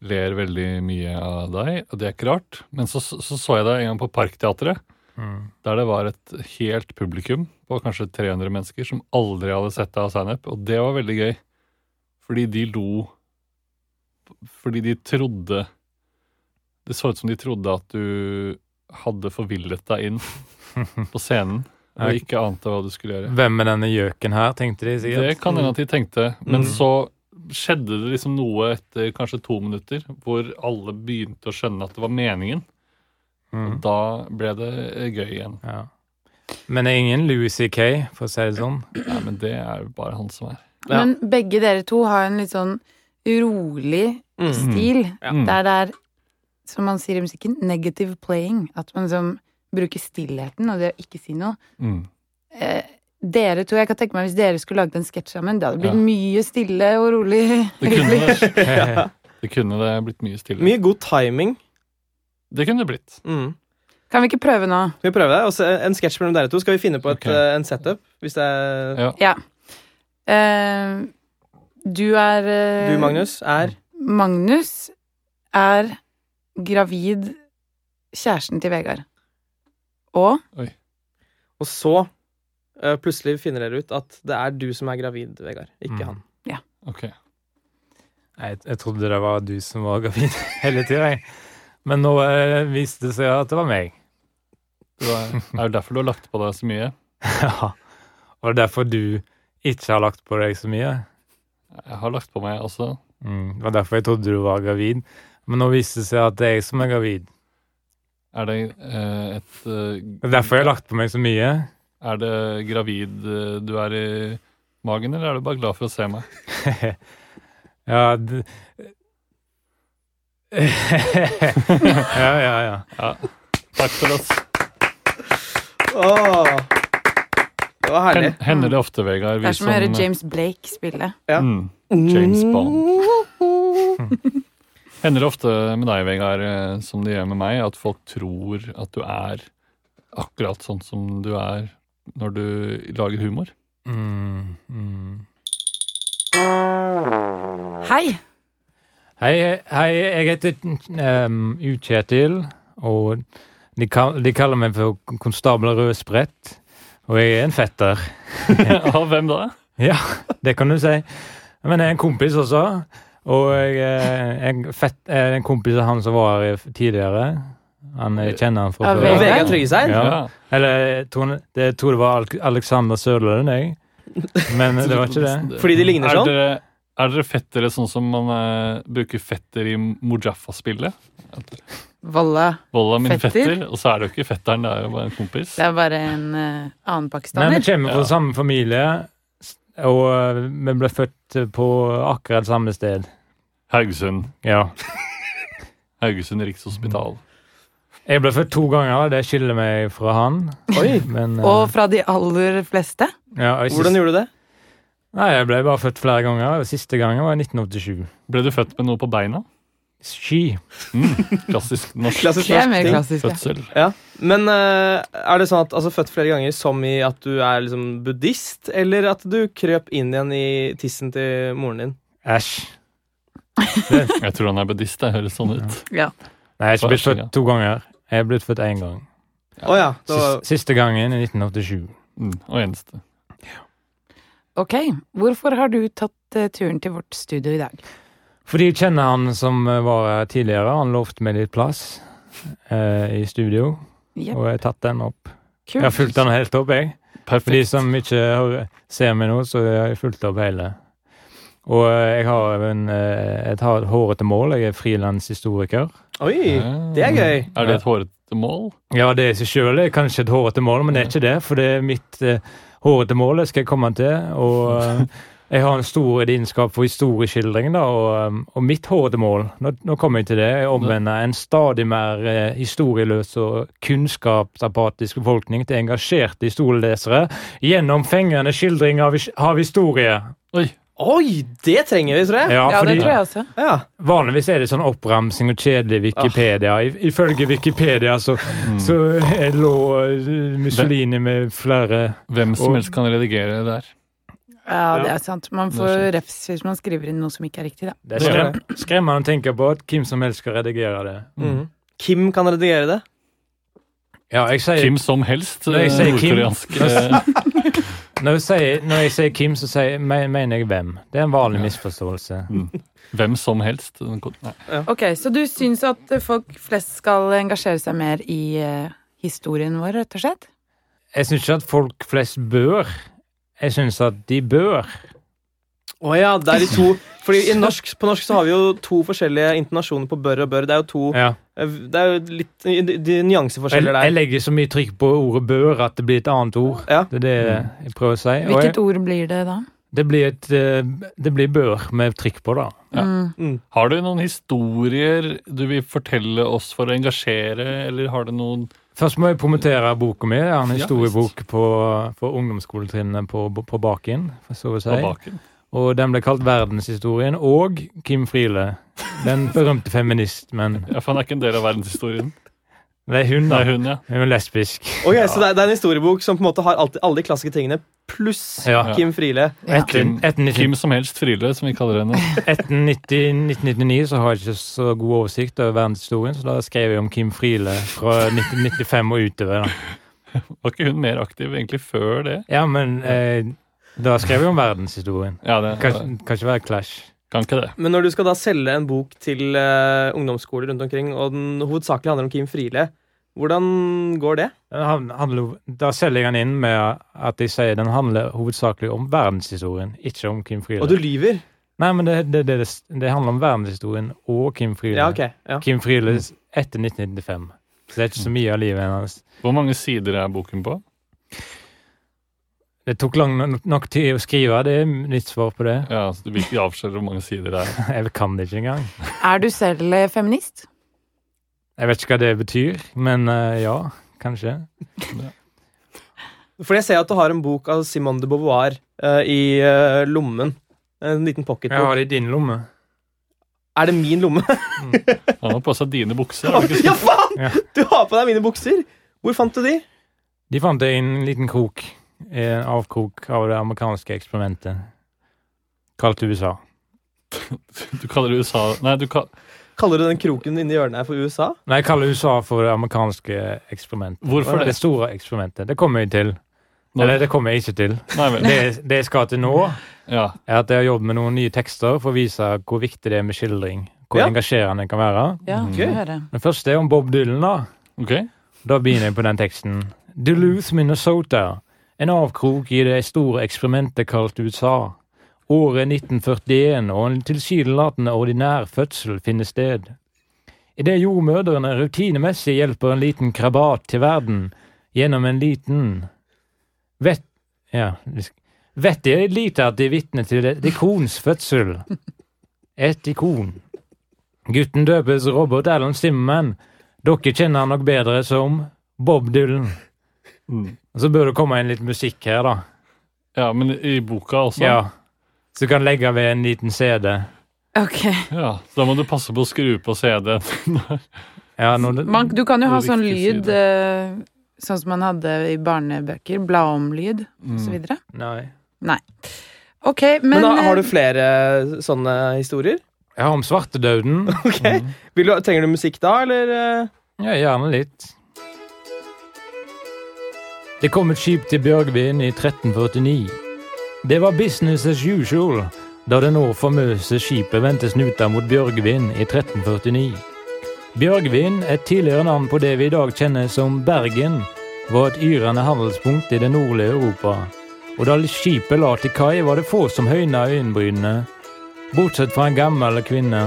Speaker 2: ler veldig mye av deg, og det er ikke rart. Men så så, så jeg deg en gang på Parkteatret,
Speaker 5: Mm.
Speaker 2: der det var et helt publikum på kanskje 300 mennesker som aldri hadde sett deg ha standup, og det var veldig gøy. Fordi de lo Fordi de trodde Det så ut som de trodde at du hadde forvillet deg inn på scenen og ikke ante hva du skulle gjøre.
Speaker 5: Hvem er denne gjøken her, tenkte de
Speaker 2: Det
Speaker 5: sikkert.
Speaker 2: kan hende at de tenkte, men
Speaker 3: Mm.
Speaker 2: så skjedde det liksom noe etter kanskje to minutter hvor alle begynte å skjønne at det var meningen.
Speaker 5: Mm.
Speaker 2: Da ble det eh, gøy igjen.
Speaker 5: Ja. Men jeg er ingen Louis C.K., for å si det sånn.
Speaker 2: Nei, men det er jo bare han som er.
Speaker 3: Ja.
Speaker 1: Men begge dere to har en litt sånn rolig
Speaker 3: Mm.
Speaker 1: stil.
Speaker 3: Ja.
Speaker 2: Mm.
Speaker 1: Der det er, som man sier i musikken, negative playing. At man liksom bruker stillheten og det å ikke si noe.
Speaker 2: Mm.
Speaker 1: Eh, dere to, jeg kan tenke meg Hvis dere skulle laget en sketsj sammen, det hadde blitt
Speaker 2: Ja.
Speaker 1: mye stille og rolig.
Speaker 2: Det kunne,
Speaker 1: [laughs]
Speaker 2: det [laughs] kunne det blitt mye stille.
Speaker 3: Mye god timing.
Speaker 2: Det kunne det blitt.
Speaker 3: Mm.
Speaker 1: Kan vi ikke prøve nå?
Speaker 3: Skal vi prøve det? Og så en sketsj mellom dere to. Skal vi finne på et,
Speaker 2: Ok.
Speaker 3: eh, en setup? Hvis det er
Speaker 2: Ja.
Speaker 1: Ja. Eh, du er eh,
Speaker 3: Du, Magnus, er
Speaker 1: Magnus er gravid kjæresten til Vegard. Og
Speaker 3: Og så eh, plutselig finner dere ut at det er du som er gravid, Vegard. Ikke
Speaker 5: Mm.
Speaker 3: han.
Speaker 2: Ok.
Speaker 5: Jeg, jeg trodde det var du som var gravid [laughs] hele tida, jeg. Men nå eh, viste det seg at det var meg.
Speaker 2: Det var- er jo derfor du har lagt på deg så mye.
Speaker 5: [laughs] Ja. Og det er derfor du ikke har lagt på deg så mye.
Speaker 2: Jeg har lagt på meg også.
Speaker 5: Mm. Det var derfor jeg trodde du var gravid. Men nå viste det seg at det er jeg som er gravid.
Speaker 2: Er det eh, et eh,
Speaker 5: Det er derfor jeg har lagt på meg så mye.
Speaker 2: Er det gravid eh, du er i magen, eller er du bare glad for å se meg?
Speaker 5: ja, d... [laughs] ja, ja, ja.
Speaker 2: Ja. Takk for oss.
Speaker 3: Åh. Det var herlig.
Speaker 2: Hen, hender det ofte, Vegard? vi
Speaker 1: det er som å høre
Speaker 2: som-
Speaker 5: eh,
Speaker 1: James Blake spille.
Speaker 3: Ja.
Speaker 2: Mm, James Bond. Hender det ofte med deg, Vegard, eh, som det gjør med meg, at folk tror at du er akkurat sånn som du er når du lager humor?
Speaker 5: Mm, mm.
Speaker 1: Hei!
Speaker 5: Hei, hei, jeg heter um, U-Kjetil, og de, kal de kaller meg for konstabel Rødsprett, og jeg er en fetter.
Speaker 2: [laughs] Av hvem da?
Speaker 5: Ja, det kan du si. Men jeg er en kompis også, og jeg, eh, jeg fett, er en kompis av han som var her tidligere. Han jeg kjenner han fra
Speaker 1: Av
Speaker 5: før.
Speaker 3: Vegard Tryggeseid?
Speaker 5: Ja. Eller jeg tror, han- det, jeg tror det var Al- Alexander Sørlund, jeg. Men eh, det var ikke det. Mm.
Speaker 3: Fordi de ligner
Speaker 2: Er
Speaker 3: sånn?
Speaker 2: dere, er dere fettere sånn som man eh, bruker fetter i Mujaffa-spillet?
Speaker 1: Valla.
Speaker 2: Volla min
Speaker 1: Fetter?
Speaker 2: fetter? Og så er det jo ikke fetteren, det er jo bare en kompis.
Speaker 1: Det er bare en eh, annen
Speaker 5: Nei, vi
Speaker 1: pakistaner.
Speaker 5: kommer fra
Speaker 2: Ja.
Speaker 5: samme familie, s- og eh, vi ble født på akkurat samme sted.
Speaker 2: Haugesund.
Speaker 5: Ja.
Speaker 2: Haugesund Rikshospital.
Speaker 5: Jeg ble født to ganger, det skiller meg fra han.
Speaker 3: Oi.
Speaker 5: Men, eh,
Speaker 1: Og fra de aller fleste.
Speaker 5: ja, og jeg
Speaker 3: Hvordan
Speaker 5: sist-
Speaker 3: gjorde du det?
Speaker 5: Nei, jeg ble bare født flere ganger. og Siste gangen var i 1987.
Speaker 2: Ble du født med noe på beina?
Speaker 5: Ski.
Speaker 2: Klassisk norsk
Speaker 3: Klassisk
Speaker 1: Det er
Speaker 3: norsk
Speaker 1: mer
Speaker 3: ting.
Speaker 1: klassisk. ja.
Speaker 2: fødsel.
Speaker 3: [laughs] Ja. Men eh, er det sånn at altså, født flere ganger som i at du er liksom buddhist, eller at du krøp inn igjen i tissen til moren din?
Speaker 5: Æsj.
Speaker 2: Jeg tror han er buddhist, det høres sånn ut.
Speaker 5: Nei, jeg er ikke blitt
Speaker 2: Æsj, ja.
Speaker 5: født to ganger. Jeg er blitt født én gang.
Speaker 3: Å ja. Det var,
Speaker 5: Siste, siste gangen i 1987.
Speaker 2: Mm, og eneste.
Speaker 1: Ok, hvorfor har du tatt eh, turen til vårt studio i dag?
Speaker 5: Fordi jeg kjenner han som eh, var her tidligere. Han lovte meg litt plass eh, i studio,
Speaker 1: Jepp,
Speaker 5: og jeg har tatt den opp. Jeg har
Speaker 1: kult.
Speaker 5: fulgt den helt opp, jeg. For de
Speaker 2: Perfekt.
Speaker 5: som ikke har- ser meg nå, så har jeg fulgt opp hele. Og eh, jeg har en, eh, et har- hårete mål. Jeg er frilanshistoriker.
Speaker 3: oi!
Speaker 2: Ah.
Speaker 3: Det er gøy.
Speaker 2: Er det et hårete mål?
Speaker 5: Ja, det i seg sjøl er kanskje et hårete mål, men det er ikke det. For det er mitt eh, hårete mål, det skal jeg komme til. Og eh, jeg har en stor lidenskap for historieskildring, da. Og, eh, og mitt hårete mål, nå, nå kommer jeg til det, jeg omvender en stadig mer eh, historieløs og kunnskapsapatisk befolkning til engasjerte historielesere gjennom fengende skildring av, his- av historie.
Speaker 2: Oi,
Speaker 3: Oi, det trenger vi, tror jeg.
Speaker 5: Ja,
Speaker 1: Ja, det
Speaker 5: fordi
Speaker 1: tror jeg Ah. også.
Speaker 3: Ja.
Speaker 5: vanligvis er det sånn oppramsing og kjedelig Wikipedia. I, ifølge Wikipedia så,
Speaker 2: Mm.
Speaker 5: så lå eh, Mussolini med flere
Speaker 2: hvem som
Speaker 5: Og-
Speaker 2: helst kan redigere det der.
Speaker 1: Ja, det er sant. Man får refs hvis man skriver inn noe som ikke er riktig, da.
Speaker 5: Det er
Speaker 2: Det er
Speaker 5: skrem, skremmende å tenke på at hvem som helst skal redigere det.
Speaker 3: Mhm. Kim kan redigere det.
Speaker 5: Ja, jeg sier,
Speaker 2: Kim som helst,
Speaker 5: Nei, jeg sier
Speaker 2: eh,
Speaker 5: Kim.
Speaker 2: nordkoreanske
Speaker 5: [laughs]
Speaker 2: eh,
Speaker 5: når, jeg sier, når jeg sier Kim, så sier, me- mener jeg hvem. Det er en vanlig misforståelse.
Speaker 2: Hvem som helst. Nei.
Speaker 1: Ok, så du syns at eh, folk flest skal engasjere seg mer i eh, historien vår, rett og slett?
Speaker 5: Jeg syns ikke at folk flest bør. Jeg syns at de bør.
Speaker 3: Å ja, det er de to Fordi i norsk, På norsk så har vi jo to forskjellige intonasjoner på bør og bør. Det er jo to eh,
Speaker 5: Ja.
Speaker 3: Det er jo litt de, de
Speaker 5: Jeg,
Speaker 3: nyanseforskjeller
Speaker 5: jeg
Speaker 3: der.
Speaker 5: legger så mye trykk på ordet bør at det blir et annet ord.
Speaker 3: Ja.
Speaker 5: Det er det jeg prøver å si. Og jeg,
Speaker 1: Hvilket ord blir det da?
Speaker 5: det, blir et, eh, det blir bør med trykk på, da.
Speaker 2: Ja.
Speaker 1: Mm.
Speaker 2: Har du noen historier du vil fortelle oss for å engasjere, eller har du noen
Speaker 5: Først må jeg promotere boka mi. Jeg har en
Speaker 2: Ja,
Speaker 5: historiebok på, for ungdomsskoletrinnet på, på Bakin. For så å si.
Speaker 2: på baken?
Speaker 5: Og den ble kalt Verdenshistorien og Kim Friele. Den berømte feminist, men
Speaker 2: Ja, for han er ikke en del av verdenshistorien.
Speaker 5: Det er hun,
Speaker 2: Det
Speaker 5: da.
Speaker 2: er hun, ja.
Speaker 5: Hun er lesbisk.
Speaker 3: Ok, Så det er, det er en historiebok som på en måte har alltid, alle de klassiske tingene, pluss
Speaker 5: Ja.
Speaker 3: Kim Friele.
Speaker 1: Ja.
Speaker 5: Etter, etter,
Speaker 2: Kim
Speaker 5: 19,
Speaker 2: som helst Friele, som vi kaller henne.
Speaker 5: etter 90, 1999 så har jeg ikke så god oversikt over verdenshistorien, så da skrev jeg om Kim Friele fra 1995 og utover. da.
Speaker 2: Var ikke hun mer aktiv egentlig før det?
Speaker 5: Ja, men eh, da skrev jeg om verdenshistorien.
Speaker 2: Ja, det
Speaker 5: Kanskje, kanskje være clash.
Speaker 2: kan ikke det.
Speaker 3: Men når du skal da selge en bok til eh, ungdomsskoler rundt omkring, og den hovedsakelig handler om Kim Friele, hvordan går det?
Speaker 5: Den han- handler- Da selger jeg den inn med at jeg sier den handler hovedsakelig om verdenshistorien, ikke om Kim Friele.
Speaker 3: Og du lyver?
Speaker 5: Nei, men det, det, det, det handler om verdenshistorien og Kim Friele.
Speaker 3: Ja, ok. Ja.
Speaker 5: Kim Friele etter 1995. Så det er ikke så mye av livet hennes.
Speaker 2: Hvor mange sider er boken på?
Speaker 5: Det tok lang nok, nok tid å skrive, det er mitt svar på det. [laughs]
Speaker 2: Ja, så Du vil ikke avsløre hvor mange sider det er.
Speaker 5: Jeg kan det ikke engang.
Speaker 1: Er du selv eh, feminist?
Speaker 5: Jeg vet ikke hva det betyr, men eh, ja, kanskje.
Speaker 3: For jeg ser at du har en bok av Simone de Beauvoir eh, i eh, lommen. En liten
Speaker 5: Jeg
Speaker 3: pocketbok.
Speaker 5: har det i din lomme.
Speaker 3: Er det min lomme?
Speaker 2: Han har på seg dine bukser. har du ikke
Speaker 3: ja,
Speaker 2: sett?
Speaker 3: faen!
Speaker 5: Ja.
Speaker 3: Du har på deg mine bukser! Hvor fant du de?
Speaker 5: De fant jeg i en liten krok, en avkrok av det amerikanske eksperimentet, kalt USA.
Speaker 2: Du kaller det USA Nei, du ka...
Speaker 3: Kaller du den kroken inni hjørnet her for USA?
Speaker 5: Nei, jeg kaller USA for det amerikanske eksperimentet.
Speaker 2: Hvorfor det?
Speaker 5: Det store eksperimentet. Det kommer jeg til.
Speaker 2: Nå-
Speaker 5: Eller det kommer jeg ikke til.
Speaker 2: Nei vel.
Speaker 5: Det, det jeg skal til nå,
Speaker 2: Ja.
Speaker 5: er at jeg har jobbet med noen nye tekster for å vise hvor viktig det er med skildring. Hvor
Speaker 3: Ja.
Speaker 5: engasjerende det kan være.
Speaker 1: Ja,
Speaker 2: Mm.
Speaker 1: får jeg høre.
Speaker 5: Den første er om Bob Dylan, da.
Speaker 2: Ok.
Speaker 5: Da begynner jeg på den teksten. Duluth, Minnesota. En avkrok i det store eksperimentet kalt USA. Året er 1941, og en tilsynelatende ordinær fødsel finner sted. Idet jordmødrene rutinemessig hjelper en liten krabat til verden gjennom en liten Vet... Ja vi sk- Vet de lite at de er vitne til et ikons fødsel? Et ikon. Gutten døpes Robert Allen Zimmerman, dere kjenner han nok bedre som Bob Dylan.
Speaker 2: Mm.
Speaker 5: Og så bør det komme inn litt musikk her, da.
Speaker 2: Ja, men i boka også?
Speaker 5: Ja. Så du kan legge ved en liten CD.
Speaker 1: Ok.
Speaker 2: Ja, Så da må du passe på å skru på CD-en.
Speaker 5: Ja, nå, det,
Speaker 1: Man, du kan jo
Speaker 2: På
Speaker 1: ha sånn
Speaker 2: riktig
Speaker 1: lyd
Speaker 2: side.
Speaker 1: eh, sånn som man hadde i barnebøker. Bla om-lyd og så videre.
Speaker 5: nei.
Speaker 1: Ok, men,
Speaker 3: Men, da, har du
Speaker 1: eh,
Speaker 3: flere sånne historier?
Speaker 5: Jeg har om svartedauden.
Speaker 3: Ok. Vil du, trenger du musikk da, eller? eh?
Speaker 5: Ja, gjerne litt. Det kom et skip til Bjørgvin i 1349. Det var business as usual da det nå famøse skipet vendte snuta mot Bjørgvin i 1349. Bjørgvin, et tidligere navn på det vi i dag kjenner som Bergen, var et yrende handelspunkt i det nordlige Europa. Og da skipet la til kai, var det få som høyna øyenbrynene, bortsett fra en gammel kvinne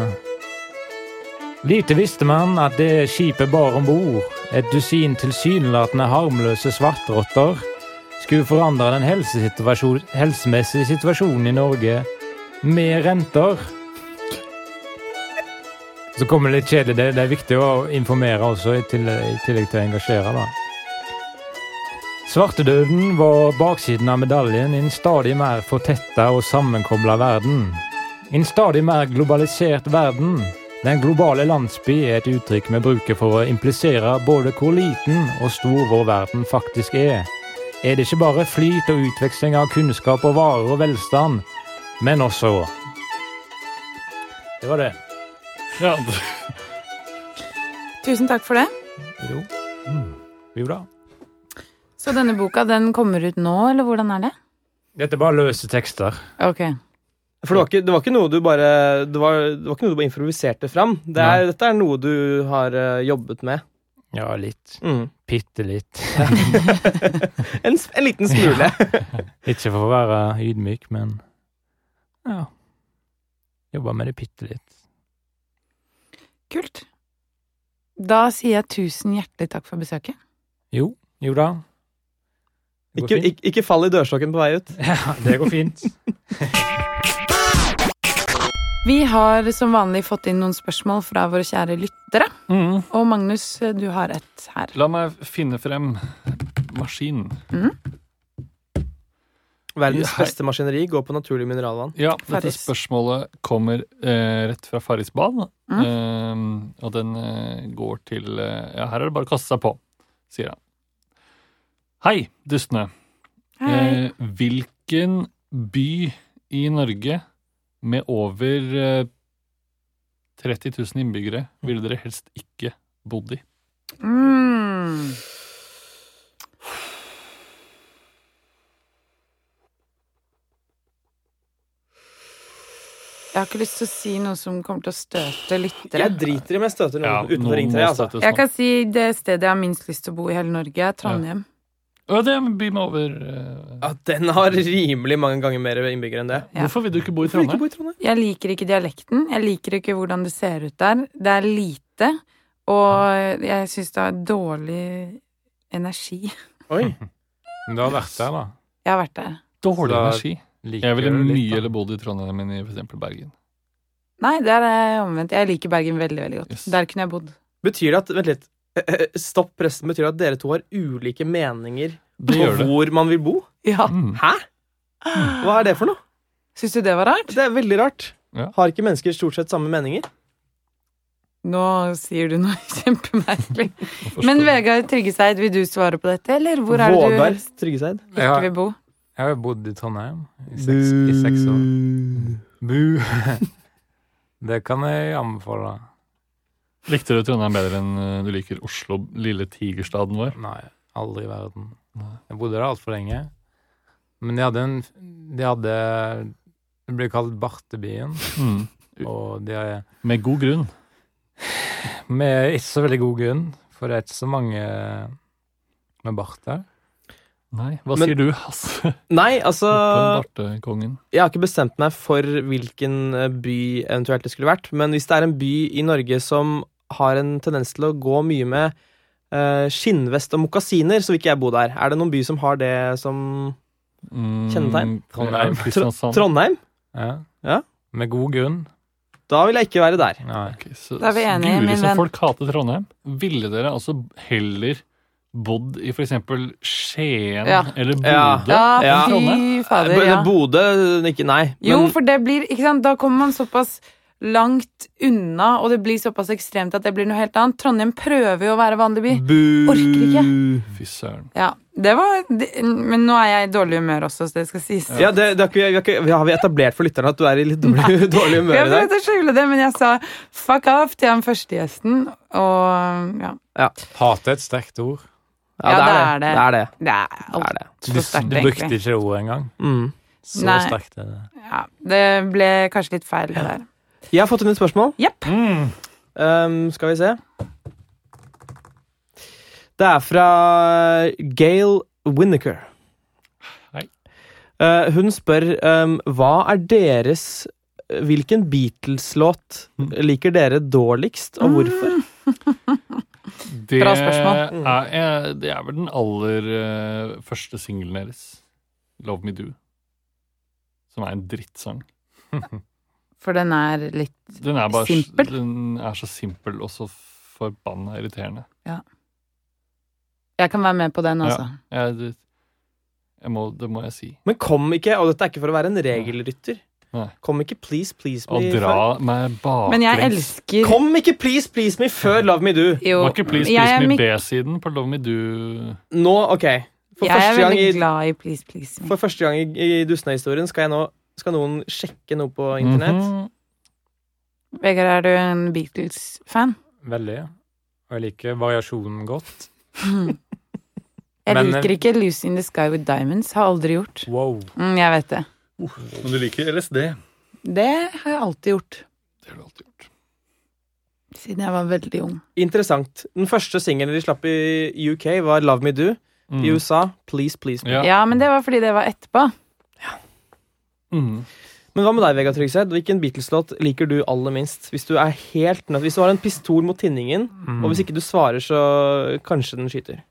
Speaker 5: Lite visste man at det skipet bar om bord, et dusin tilsynelatende harmløse svartrotter, skulle forandre den helsesituasjon- helsemessige situasjonen i Norge med renter. Så kommer det litt kjedelig. Det, det er viktig å informere også, i tillegg, i tillegg til å engasjere. da. Svartedauden var baksiden av medaljen i en stadig mer fortetta og sammenkobla verden. I en stadig mer globalisert verden den globale landsby er et uttrykk vi bruker for å implisere både hvor liten og stor vår verden faktisk er. Er det ikke bare flyt og utveksling av kunnskap og varer og velstand, men også Det var det.
Speaker 2: [laughs] Ja,
Speaker 1: tusen takk for det.
Speaker 5: Jo. Jo da.
Speaker 1: Så denne boka, den kommer ut nå, eller hvordan er det?
Speaker 5: Dette er bare løse tekster.
Speaker 1: Ok.
Speaker 3: For det var, ikke, det var ikke noe du bare Det var, det var ikke noe du bare improviserte fram. Det er, dette er noe du har eh, jobbet med.
Speaker 5: Ja, litt.
Speaker 3: Mm.
Speaker 5: Bitte litt. [laughs]
Speaker 3: En, s- en liten smule.
Speaker 5: Ikke for å være ydmyk, men Ja. Jobba med det bitte litt.
Speaker 1: Kult. Da sier jeg tusen hjertelig takk for besøket.
Speaker 5: Jo, jo da.
Speaker 3: [laughs]
Speaker 5: Det går
Speaker 3: Ikke,
Speaker 5: fint.
Speaker 3: ikke, ikke fall i dørstokken på vei ut.
Speaker 5: [laughs] Ja, det går fint.
Speaker 1: Vi har som vanlig fått inn noen spørsmål fra våre kjære lyttere.
Speaker 2: Mm.
Speaker 1: Og Magnus, du har et her.
Speaker 2: La meg finne frem maskinen.
Speaker 3: Verdens
Speaker 2: Hei.
Speaker 3: beste maskineri går på naturlig mineralvann.
Speaker 2: Ja,
Speaker 1: Farris.
Speaker 2: dette spørsmålet kommer eh, rett fra Farris bad.
Speaker 1: Mm.
Speaker 2: Eh, og den eh, går til eh, Ja, her er det bare å kaste seg på, sier han. Hei, dustene.
Speaker 1: Hei.
Speaker 2: Eh, hvilken by i Norge med over eh, 30 000 innbyggere ville dere helst ikke bodd i?
Speaker 1: Mm. Jeg har ikke lyst til å si noe som kommer til å støte lyttere.
Speaker 3: Jeg driter i om jeg støter noen utenfor
Speaker 2: noen
Speaker 3: Ring
Speaker 2: må
Speaker 3: 3. Altså.
Speaker 2: støttes nå.
Speaker 1: Jeg kan si det stedet jeg har minst lyst til å bo i hele Norge, er Trondheim.
Speaker 2: Å, det er en by med over eh,
Speaker 3: Ja, den har rimelig mange ganger mer innbyggere enn det.
Speaker 1: Ja.
Speaker 2: Hvorfor vil du ikke bo i
Speaker 3: Hvorfor vil du ikke
Speaker 2: Trondheim?
Speaker 3: bo i Trondheim?
Speaker 1: Jeg liker ikke dialekten. Jeg liker ikke hvordan det ser ut der. Det er lite, og jeg syns det er dårlig energi.
Speaker 3: Oi.
Speaker 5: Men du har vært der, da.
Speaker 1: Jeg har vært der.
Speaker 2: Dårlig
Speaker 5: Så-
Speaker 2: energi.
Speaker 5: Liker
Speaker 2: Jeg ville
Speaker 5: du det litt,
Speaker 2: mye
Speaker 5: da?
Speaker 2: eller bodd i Trondheim enn i for eksempel Bergen.
Speaker 1: Nei, der er jeg omvendt. Jeg liker Bergen veldig, veldig godt.
Speaker 2: Yes.
Speaker 1: Der kunne jeg bodd.
Speaker 3: Betyr det at Vent litt. eh, Stopp pressen. Betyr det at dere to har ulike meninger
Speaker 2: Det
Speaker 3: på
Speaker 2: gjør det.
Speaker 3: hvor man vil bo?
Speaker 1: Ja.
Speaker 2: Mm.
Speaker 3: Hæ? Hva er det for noe?
Speaker 1: Syns du det var rart?
Speaker 3: Det er veldig rart.
Speaker 2: Ja.
Speaker 3: Har ikke mennesker stort sett samme meninger?
Speaker 1: Nå sier du noe [laughs] kjempemerkelig.
Speaker 2: Forstår.
Speaker 1: Men Vegard Tryggeseid, vil du svare på dette, eller hvor er det du
Speaker 3: Vågar
Speaker 1: helst
Speaker 3: Tryggeseid.
Speaker 5: Jeg
Speaker 1: ikke
Speaker 5: har,
Speaker 1: vil bo?
Speaker 5: jeg har jo bodd i Trondheim i seks, i seks år. Bu. [laughs] det kan jeg anbefale.
Speaker 2: Likte du Trondheim bedre enn eh, du liker Oslo, lille tigerstaden vår?
Speaker 5: Nei, aldri i verden.
Speaker 2: Nei.
Speaker 5: Jeg bodde der altfor lenge. Men de hadde en De hadde Det ble kalt Bartebyen,
Speaker 2: Mm.
Speaker 5: og de er
Speaker 2: Med god grunn.
Speaker 5: med ikke så veldig god grunn, for det er ikke så mange med bart der.
Speaker 2: Nei. Hva
Speaker 3: Men-
Speaker 2: sier du, Hasse?
Speaker 3: Nei, altså
Speaker 2: Oppen Bartekongen.
Speaker 3: Jeg har ikke bestemt meg for hvilken eh, by eventuelt det skulle vært, men hvis det er en by i Norge som har en tendens til å gå mye med eh, skinnvest og mokasiner, så vil ikke jeg bo der. Er det noen by som har det som
Speaker 2: Mm,
Speaker 3: Kjennetegn?
Speaker 5: Trondheim.
Speaker 2: ja, Kristiansand.
Speaker 3: Trondheim?
Speaker 5: Ja.
Speaker 3: Ja.
Speaker 5: Med god grunn.
Speaker 3: Da vil jeg ikke være der.
Speaker 5: Nei.
Speaker 2: Ok, så,
Speaker 1: Da er vi enige,
Speaker 2: Guri,
Speaker 1: min
Speaker 2: så
Speaker 1: venn.
Speaker 2: folk hater Trondheim. Ville dere altså heller bodd i for eksempel Skien
Speaker 1: Ja.
Speaker 2: eller Bodø?
Speaker 3: Ja.
Speaker 1: Ja,
Speaker 3: Ja.
Speaker 1: fy fader,
Speaker 3: Eh,
Speaker 1: ja.
Speaker 3: Bodø ikke, Nei.
Speaker 1: Jo,
Speaker 3: Men
Speaker 1: for det blir ikke sant? Da kommer man såpass langt unna, og det blir såpass ekstremt at det blir noe helt annet. Trondheim prøver jo å være vanlig by. Orker ikke.
Speaker 3: Mm.
Speaker 2: Fy søren.
Speaker 1: Ja, det var det, Men nå er jeg i dårlig humør også, så det skal sies.
Speaker 3: ja, det, det er ikke, vi har ikke, har vi etablert for lytterne at du er i litt
Speaker 1: [laughs]
Speaker 3: dårlig, [laughs] dårlig humør
Speaker 1: Jeg
Speaker 3: i dag?
Speaker 1: prøvde å skjule det, men jeg sa fuck off til han første gjesten, og ja.
Speaker 5: Hate er et sterkt ord.
Speaker 1: Ja, det er
Speaker 3: det.
Speaker 1: det.
Speaker 3: det, er det.
Speaker 1: Det er
Speaker 3: det,
Speaker 1: alt
Speaker 3: er det.
Speaker 5: Du,
Speaker 1: for sterkt,
Speaker 5: du brukte
Speaker 1: egentlig.
Speaker 5: ikke det ordet engang.
Speaker 3: Mm.
Speaker 5: Så
Speaker 1: Nei.
Speaker 5: sterkt er det.
Speaker 1: Ja, det ble kanskje litt feil, det der.
Speaker 3: Jeg har fått inn et spørsmål.
Speaker 1: Jepp.
Speaker 3: Um, skal vi se. Det er fra Gail Winnaker.
Speaker 2: Hei.
Speaker 3: Eh, hun spør um, hva er deres Hvilken Beatles-låt liker dere dårligst,
Speaker 1: Mm.
Speaker 3: og hvorfor?
Speaker 2: Det
Speaker 1: Bra spørsmål.
Speaker 2: Er, eh, det er vel den aller eh, første singelen deres, 'Love Me Do', som er en drittsang.
Speaker 1: For den er litt
Speaker 2: Den er, bare,
Speaker 1: Simpel.
Speaker 2: den er så simpel og så forbanna irriterende.
Speaker 1: Jeg kan være med på den, altså.
Speaker 2: Jeg, det, jeg må, det må jeg si.
Speaker 3: Men kom ikke, og dette er ikke for å være en regelrytter
Speaker 2: Nei.
Speaker 3: Kom ikke Please Please
Speaker 2: Å
Speaker 3: Me
Speaker 2: dra
Speaker 3: før-
Speaker 2: meg baklengs
Speaker 1: Men jeg elsker
Speaker 3: Kom ikke Please Please Me før Love Me Do!
Speaker 1: jo
Speaker 2: Var ikke Please
Speaker 1: jeg er
Speaker 2: Please
Speaker 1: mik-
Speaker 2: Me B-siden på Love Me Do
Speaker 3: Nå, OK. For
Speaker 1: Jeg er
Speaker 3: første gang
Speaker 1: veldig
Speaker 3: i
Speaker 1: glad i Please Please Me.
Speaker 3: For første gang i, i Dustene-historien skal, jeg nå- skal noen sjekke noe på internett.
Speaker 2: Mhm.
Speaker 1: Vegard, er du en Beatles-fan?
Speaker 5: Veldig. Og jeg liker variasjonen godt.
Speaker 1: Jeg
Speaker 5: Men-
Speaker 1: liker ikke Lucy in the Sky with Diamonds. Har aldri gjort.
Speaker 5: Wow.
Speaker 1: Mm, jeg vet det.
Speaker 2: Men du liker LSD?
Speaker 1: Det har jeg alltid gjort.
Speaker 2: Det har du alltid gjort.
Speaker 1: Siden jeg var veldig ung.
Speaker 3: Interessant. Den første singelen de slapp i UK, var Love Me Do. I USA Please Please Me.
Speaker 2: Mhm. Ja.
Speaker 1: Ja, men det var fordi det var etterpå.
Speaker 2: Mhm.
Speaker 3: Men hva med deg, Vegard Tryggseth? Hvilken Beatles-låt liker du aller minst? Hvis du er helt nødt Hvis du har en pistol mot tinningen,
Speaker 2: Mhm.
Speaker 3: og hvis ikke du svarer, så kanskje den skyter.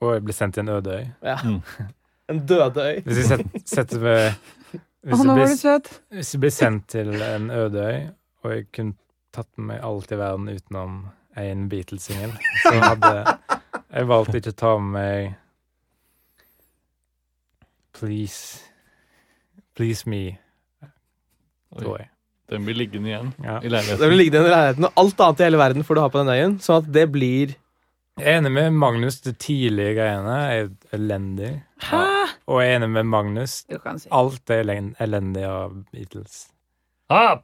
Speaker 5: Og jeg blir sendt til en øde øy.
Speaker 3: Ja.
Speaker 2: Mm.
Speaker 3: En døde øy.
Speaker 5: Hvis jeg set- setter meg hvis
Speaker 1: Å,
Speaker 5: jeg
Speaker 1: nå
Speaker 5: blir-
Speaker 1: var du søt!
Speaker 5: Hvis jeg blir sendt til en øde øy, og jeg kunne tatt med meg alt i verden utenom en Beatles-singel, så hadde jeg valgt ikke å ta med meg Please Please Me, tror
Speaker 2: Oi,
Speaker 5: jeg.
Speaker 2: den blir liggende igjen
Speaker 5: Ja.
Speaker 3: Det
Speaker 2: i
Speaker 3: vil
Speaker 2: leiligheten.
Speaker 3: ligge i den leiligheten, og alt annet i hele verden får du ha på den øyen. Sånn at det blir
Speaker 5: Jeg er enig med Magnus. De tidlige greiene er elendig.
Speaker 1: Hæ?
Speaker 5: Og jeg er enig med Magnus.
Speaker 1: Du kan si.
Speaker 5: Alt er elen- elendig av Beatles.
Speaker 2: Ah,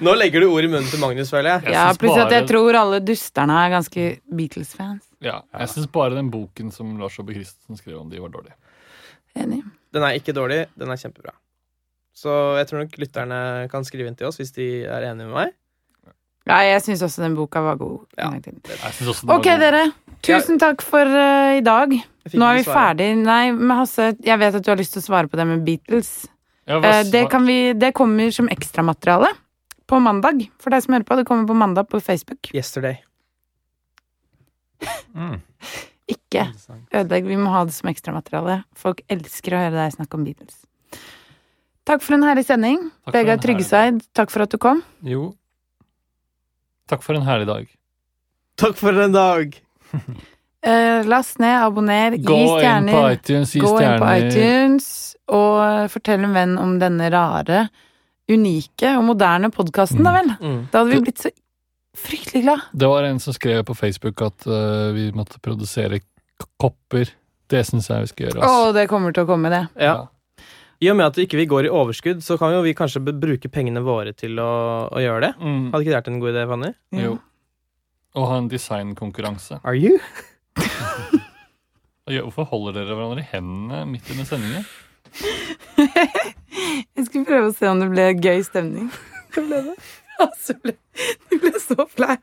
Speaker 3: Nå legger du ord i munnen til Magnus, føler jeg.
Speaker 2: jeg
Speaker 1: Ja,
Speaker 2: synes
Speaker 1: pluss at jeg
Speaker 2: bare-
Speaker 1: tror alle dusterne er ganske Beatles-fans.
Speaker 2: Ja, jeg syns bare den boken som Lars Jobbe Christensen skrev om de, var dårlig.
Speaker 1: Enig.
Speaker 3: Den er ikke dårlig, den er kjempebra. Så jeg tror nok lytterne kan skrive inn til oss hvis de er enige med meg.
Speaker 1: Nei, jeg syns også den boka var god.
Speaker 3: Ja.
Speaker 1: en gang til.
Speaker 2: Jeg synes også den
Speaker 1: Ok,
Speaker 2: var god.
Speaker 1: dere. Tusen takk for eh, i dag.
Speaker 3: Jeg fikk
Speaker 1: Nå er
Speaker 3: ikke
Speaker 1: vi
Speaker 3: svare.
Speaker 1: ferdig. Nei, men Hasse, jeg vet at du har lyst til å svare på det med Beatles.
Speaker 2: Ja, hva
Speaker 1: Eh, Det,
Speaker 2: svar-
Speaker 1: kan vi, det kommer som ekstramateriale på mandag. For deg som hører på, det kommer på mandag på Facebook.
Speaker 3: Yesterday.
Speaker 5: Mm,
Speaker 1: Ikke
Speaker 5: interessant.
Speaker 1: ødelegg, vi må ha det som ekstramateriale. Folk elsker å høre deg snakke om Beatles. Takk for en herlig sending.
Speaker 2: Takk for
Speaker 1: Vegard
Speaker 2: en herlig-
Speaker 1: Tryggeseid, takk for at du kom.
Speaker 5: Jo.
Speaker 2: Takk for en herlig dag.
Speaker 3: Takk for en dag!
Speaker 1: Eh, last ned, abonner, gi
Speaker 2: Gå inn på
Speaker 1: stjerner.
Speaker 2: iTunes, gi
Speaker 1: Gå inn på
Speaker 2: stjerner.
Speaker 1: iTunes og eh, fortell en venn om denne rare, unike og moderne podkasten,
Speaker 2: Mm.
Speaker 1: da vel.
Speaker 3: Mm.
Speaker 1: Da hadde vi blitt så fryktelig glad.
Speaker 2: Det var en som skrev på Facebook at eh, vi måtte produsere k- kopper. Det syns jeg vi skal gjøre.
Speaker 1: Å,
Speaker 2: ass.
Speaker 1: det kommer til å komme, det.
Speaker 3: Ja. I og med at ikke vi går i overskudd, så kan jo vi kanskje be- bruke pengene våre til å, å gjøre det.
Speaker 2: Mm,
Speaker 3: Hadde ikke det vært en god idé, Fanny?
Speaker 2: jo. Og ha en designkonkurranse.
Speaker 3: Are you?
Speaker 2: Og gjør- Hvorfor holder dere hverandre i hendene midt under sendingen?
Speaker 1: Jeg skulle prøve å se om det ble gøy
Speaker 2: [laughs]
Speaker 1: stemning. Det ble det. Altså, ble, det ble så flau.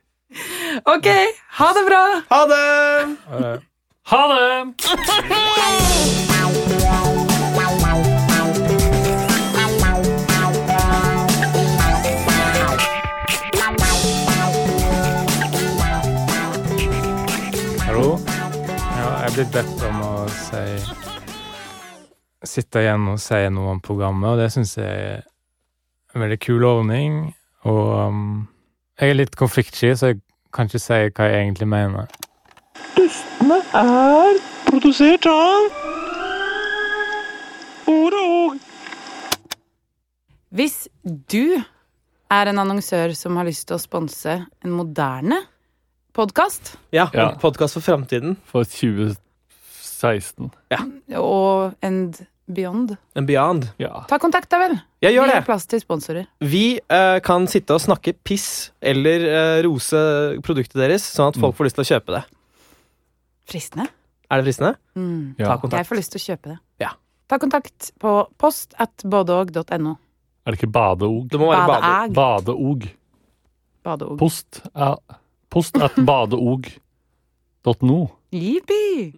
Speaker 1: Ok, ha det bra!
Speaker 3: Ha det!
Speaker 5: eh,
Speaker 2: Ha det!
Speaker 5: Hallo? Ja, jeg blir bedt om å si Sitte igjen og si noe om programmet, og det syns jeg er en veldig kul ordning. Og um, jeg er litt konfliktsky, så jeg kan ikke si hva jeg egentlig mener.
Speaker 1: Hvis du er en annonsør som har lyst til å sponse en moderne podkast,
Speaker 3: Ja,
Speaker 2: Ja.
Speaker 3: en podkast for framtiden.
Speaker 2: For 2016.
Speaker 1: og and beyond,
Speaker 3: En beyond.
Speaker 2: Ja.
Speaker 1: ta kontakt, da vel.
Speaker 3: Jeg gjør
Speaker 1: Vi
Speaker 3: det!
Speaker 1: har plass til sponsorer.
Speaker 3: Vi eh, kan sitte og snakke piss eller eh, rose produktet deres, sånn at
Speaker 1: Mm.
Speaker 3: folk får lyst til å kjøpe det.
Speaker 1: Fristende.
Speaker 3: Er det fristende?
Speaker 1: Mm.
Speaker 2: ja.
Speaker 3: Ta kontakt.
Speaker 1: Jeg får lyst til å kjøpe det.
Speaker 3: Ja.
Speaker 1: Ta kontakt på post at badeog.no.
Speaker 2: Er det ikke badeog?
Speaker 3: Det må være badeord.
Speaker 1: Badeæg.
Speaker 2: Badeog.
Speaker 1: Badeog.
Speaker 2: Post, eh, post at badeog.no.
Speaker 1: Jippi!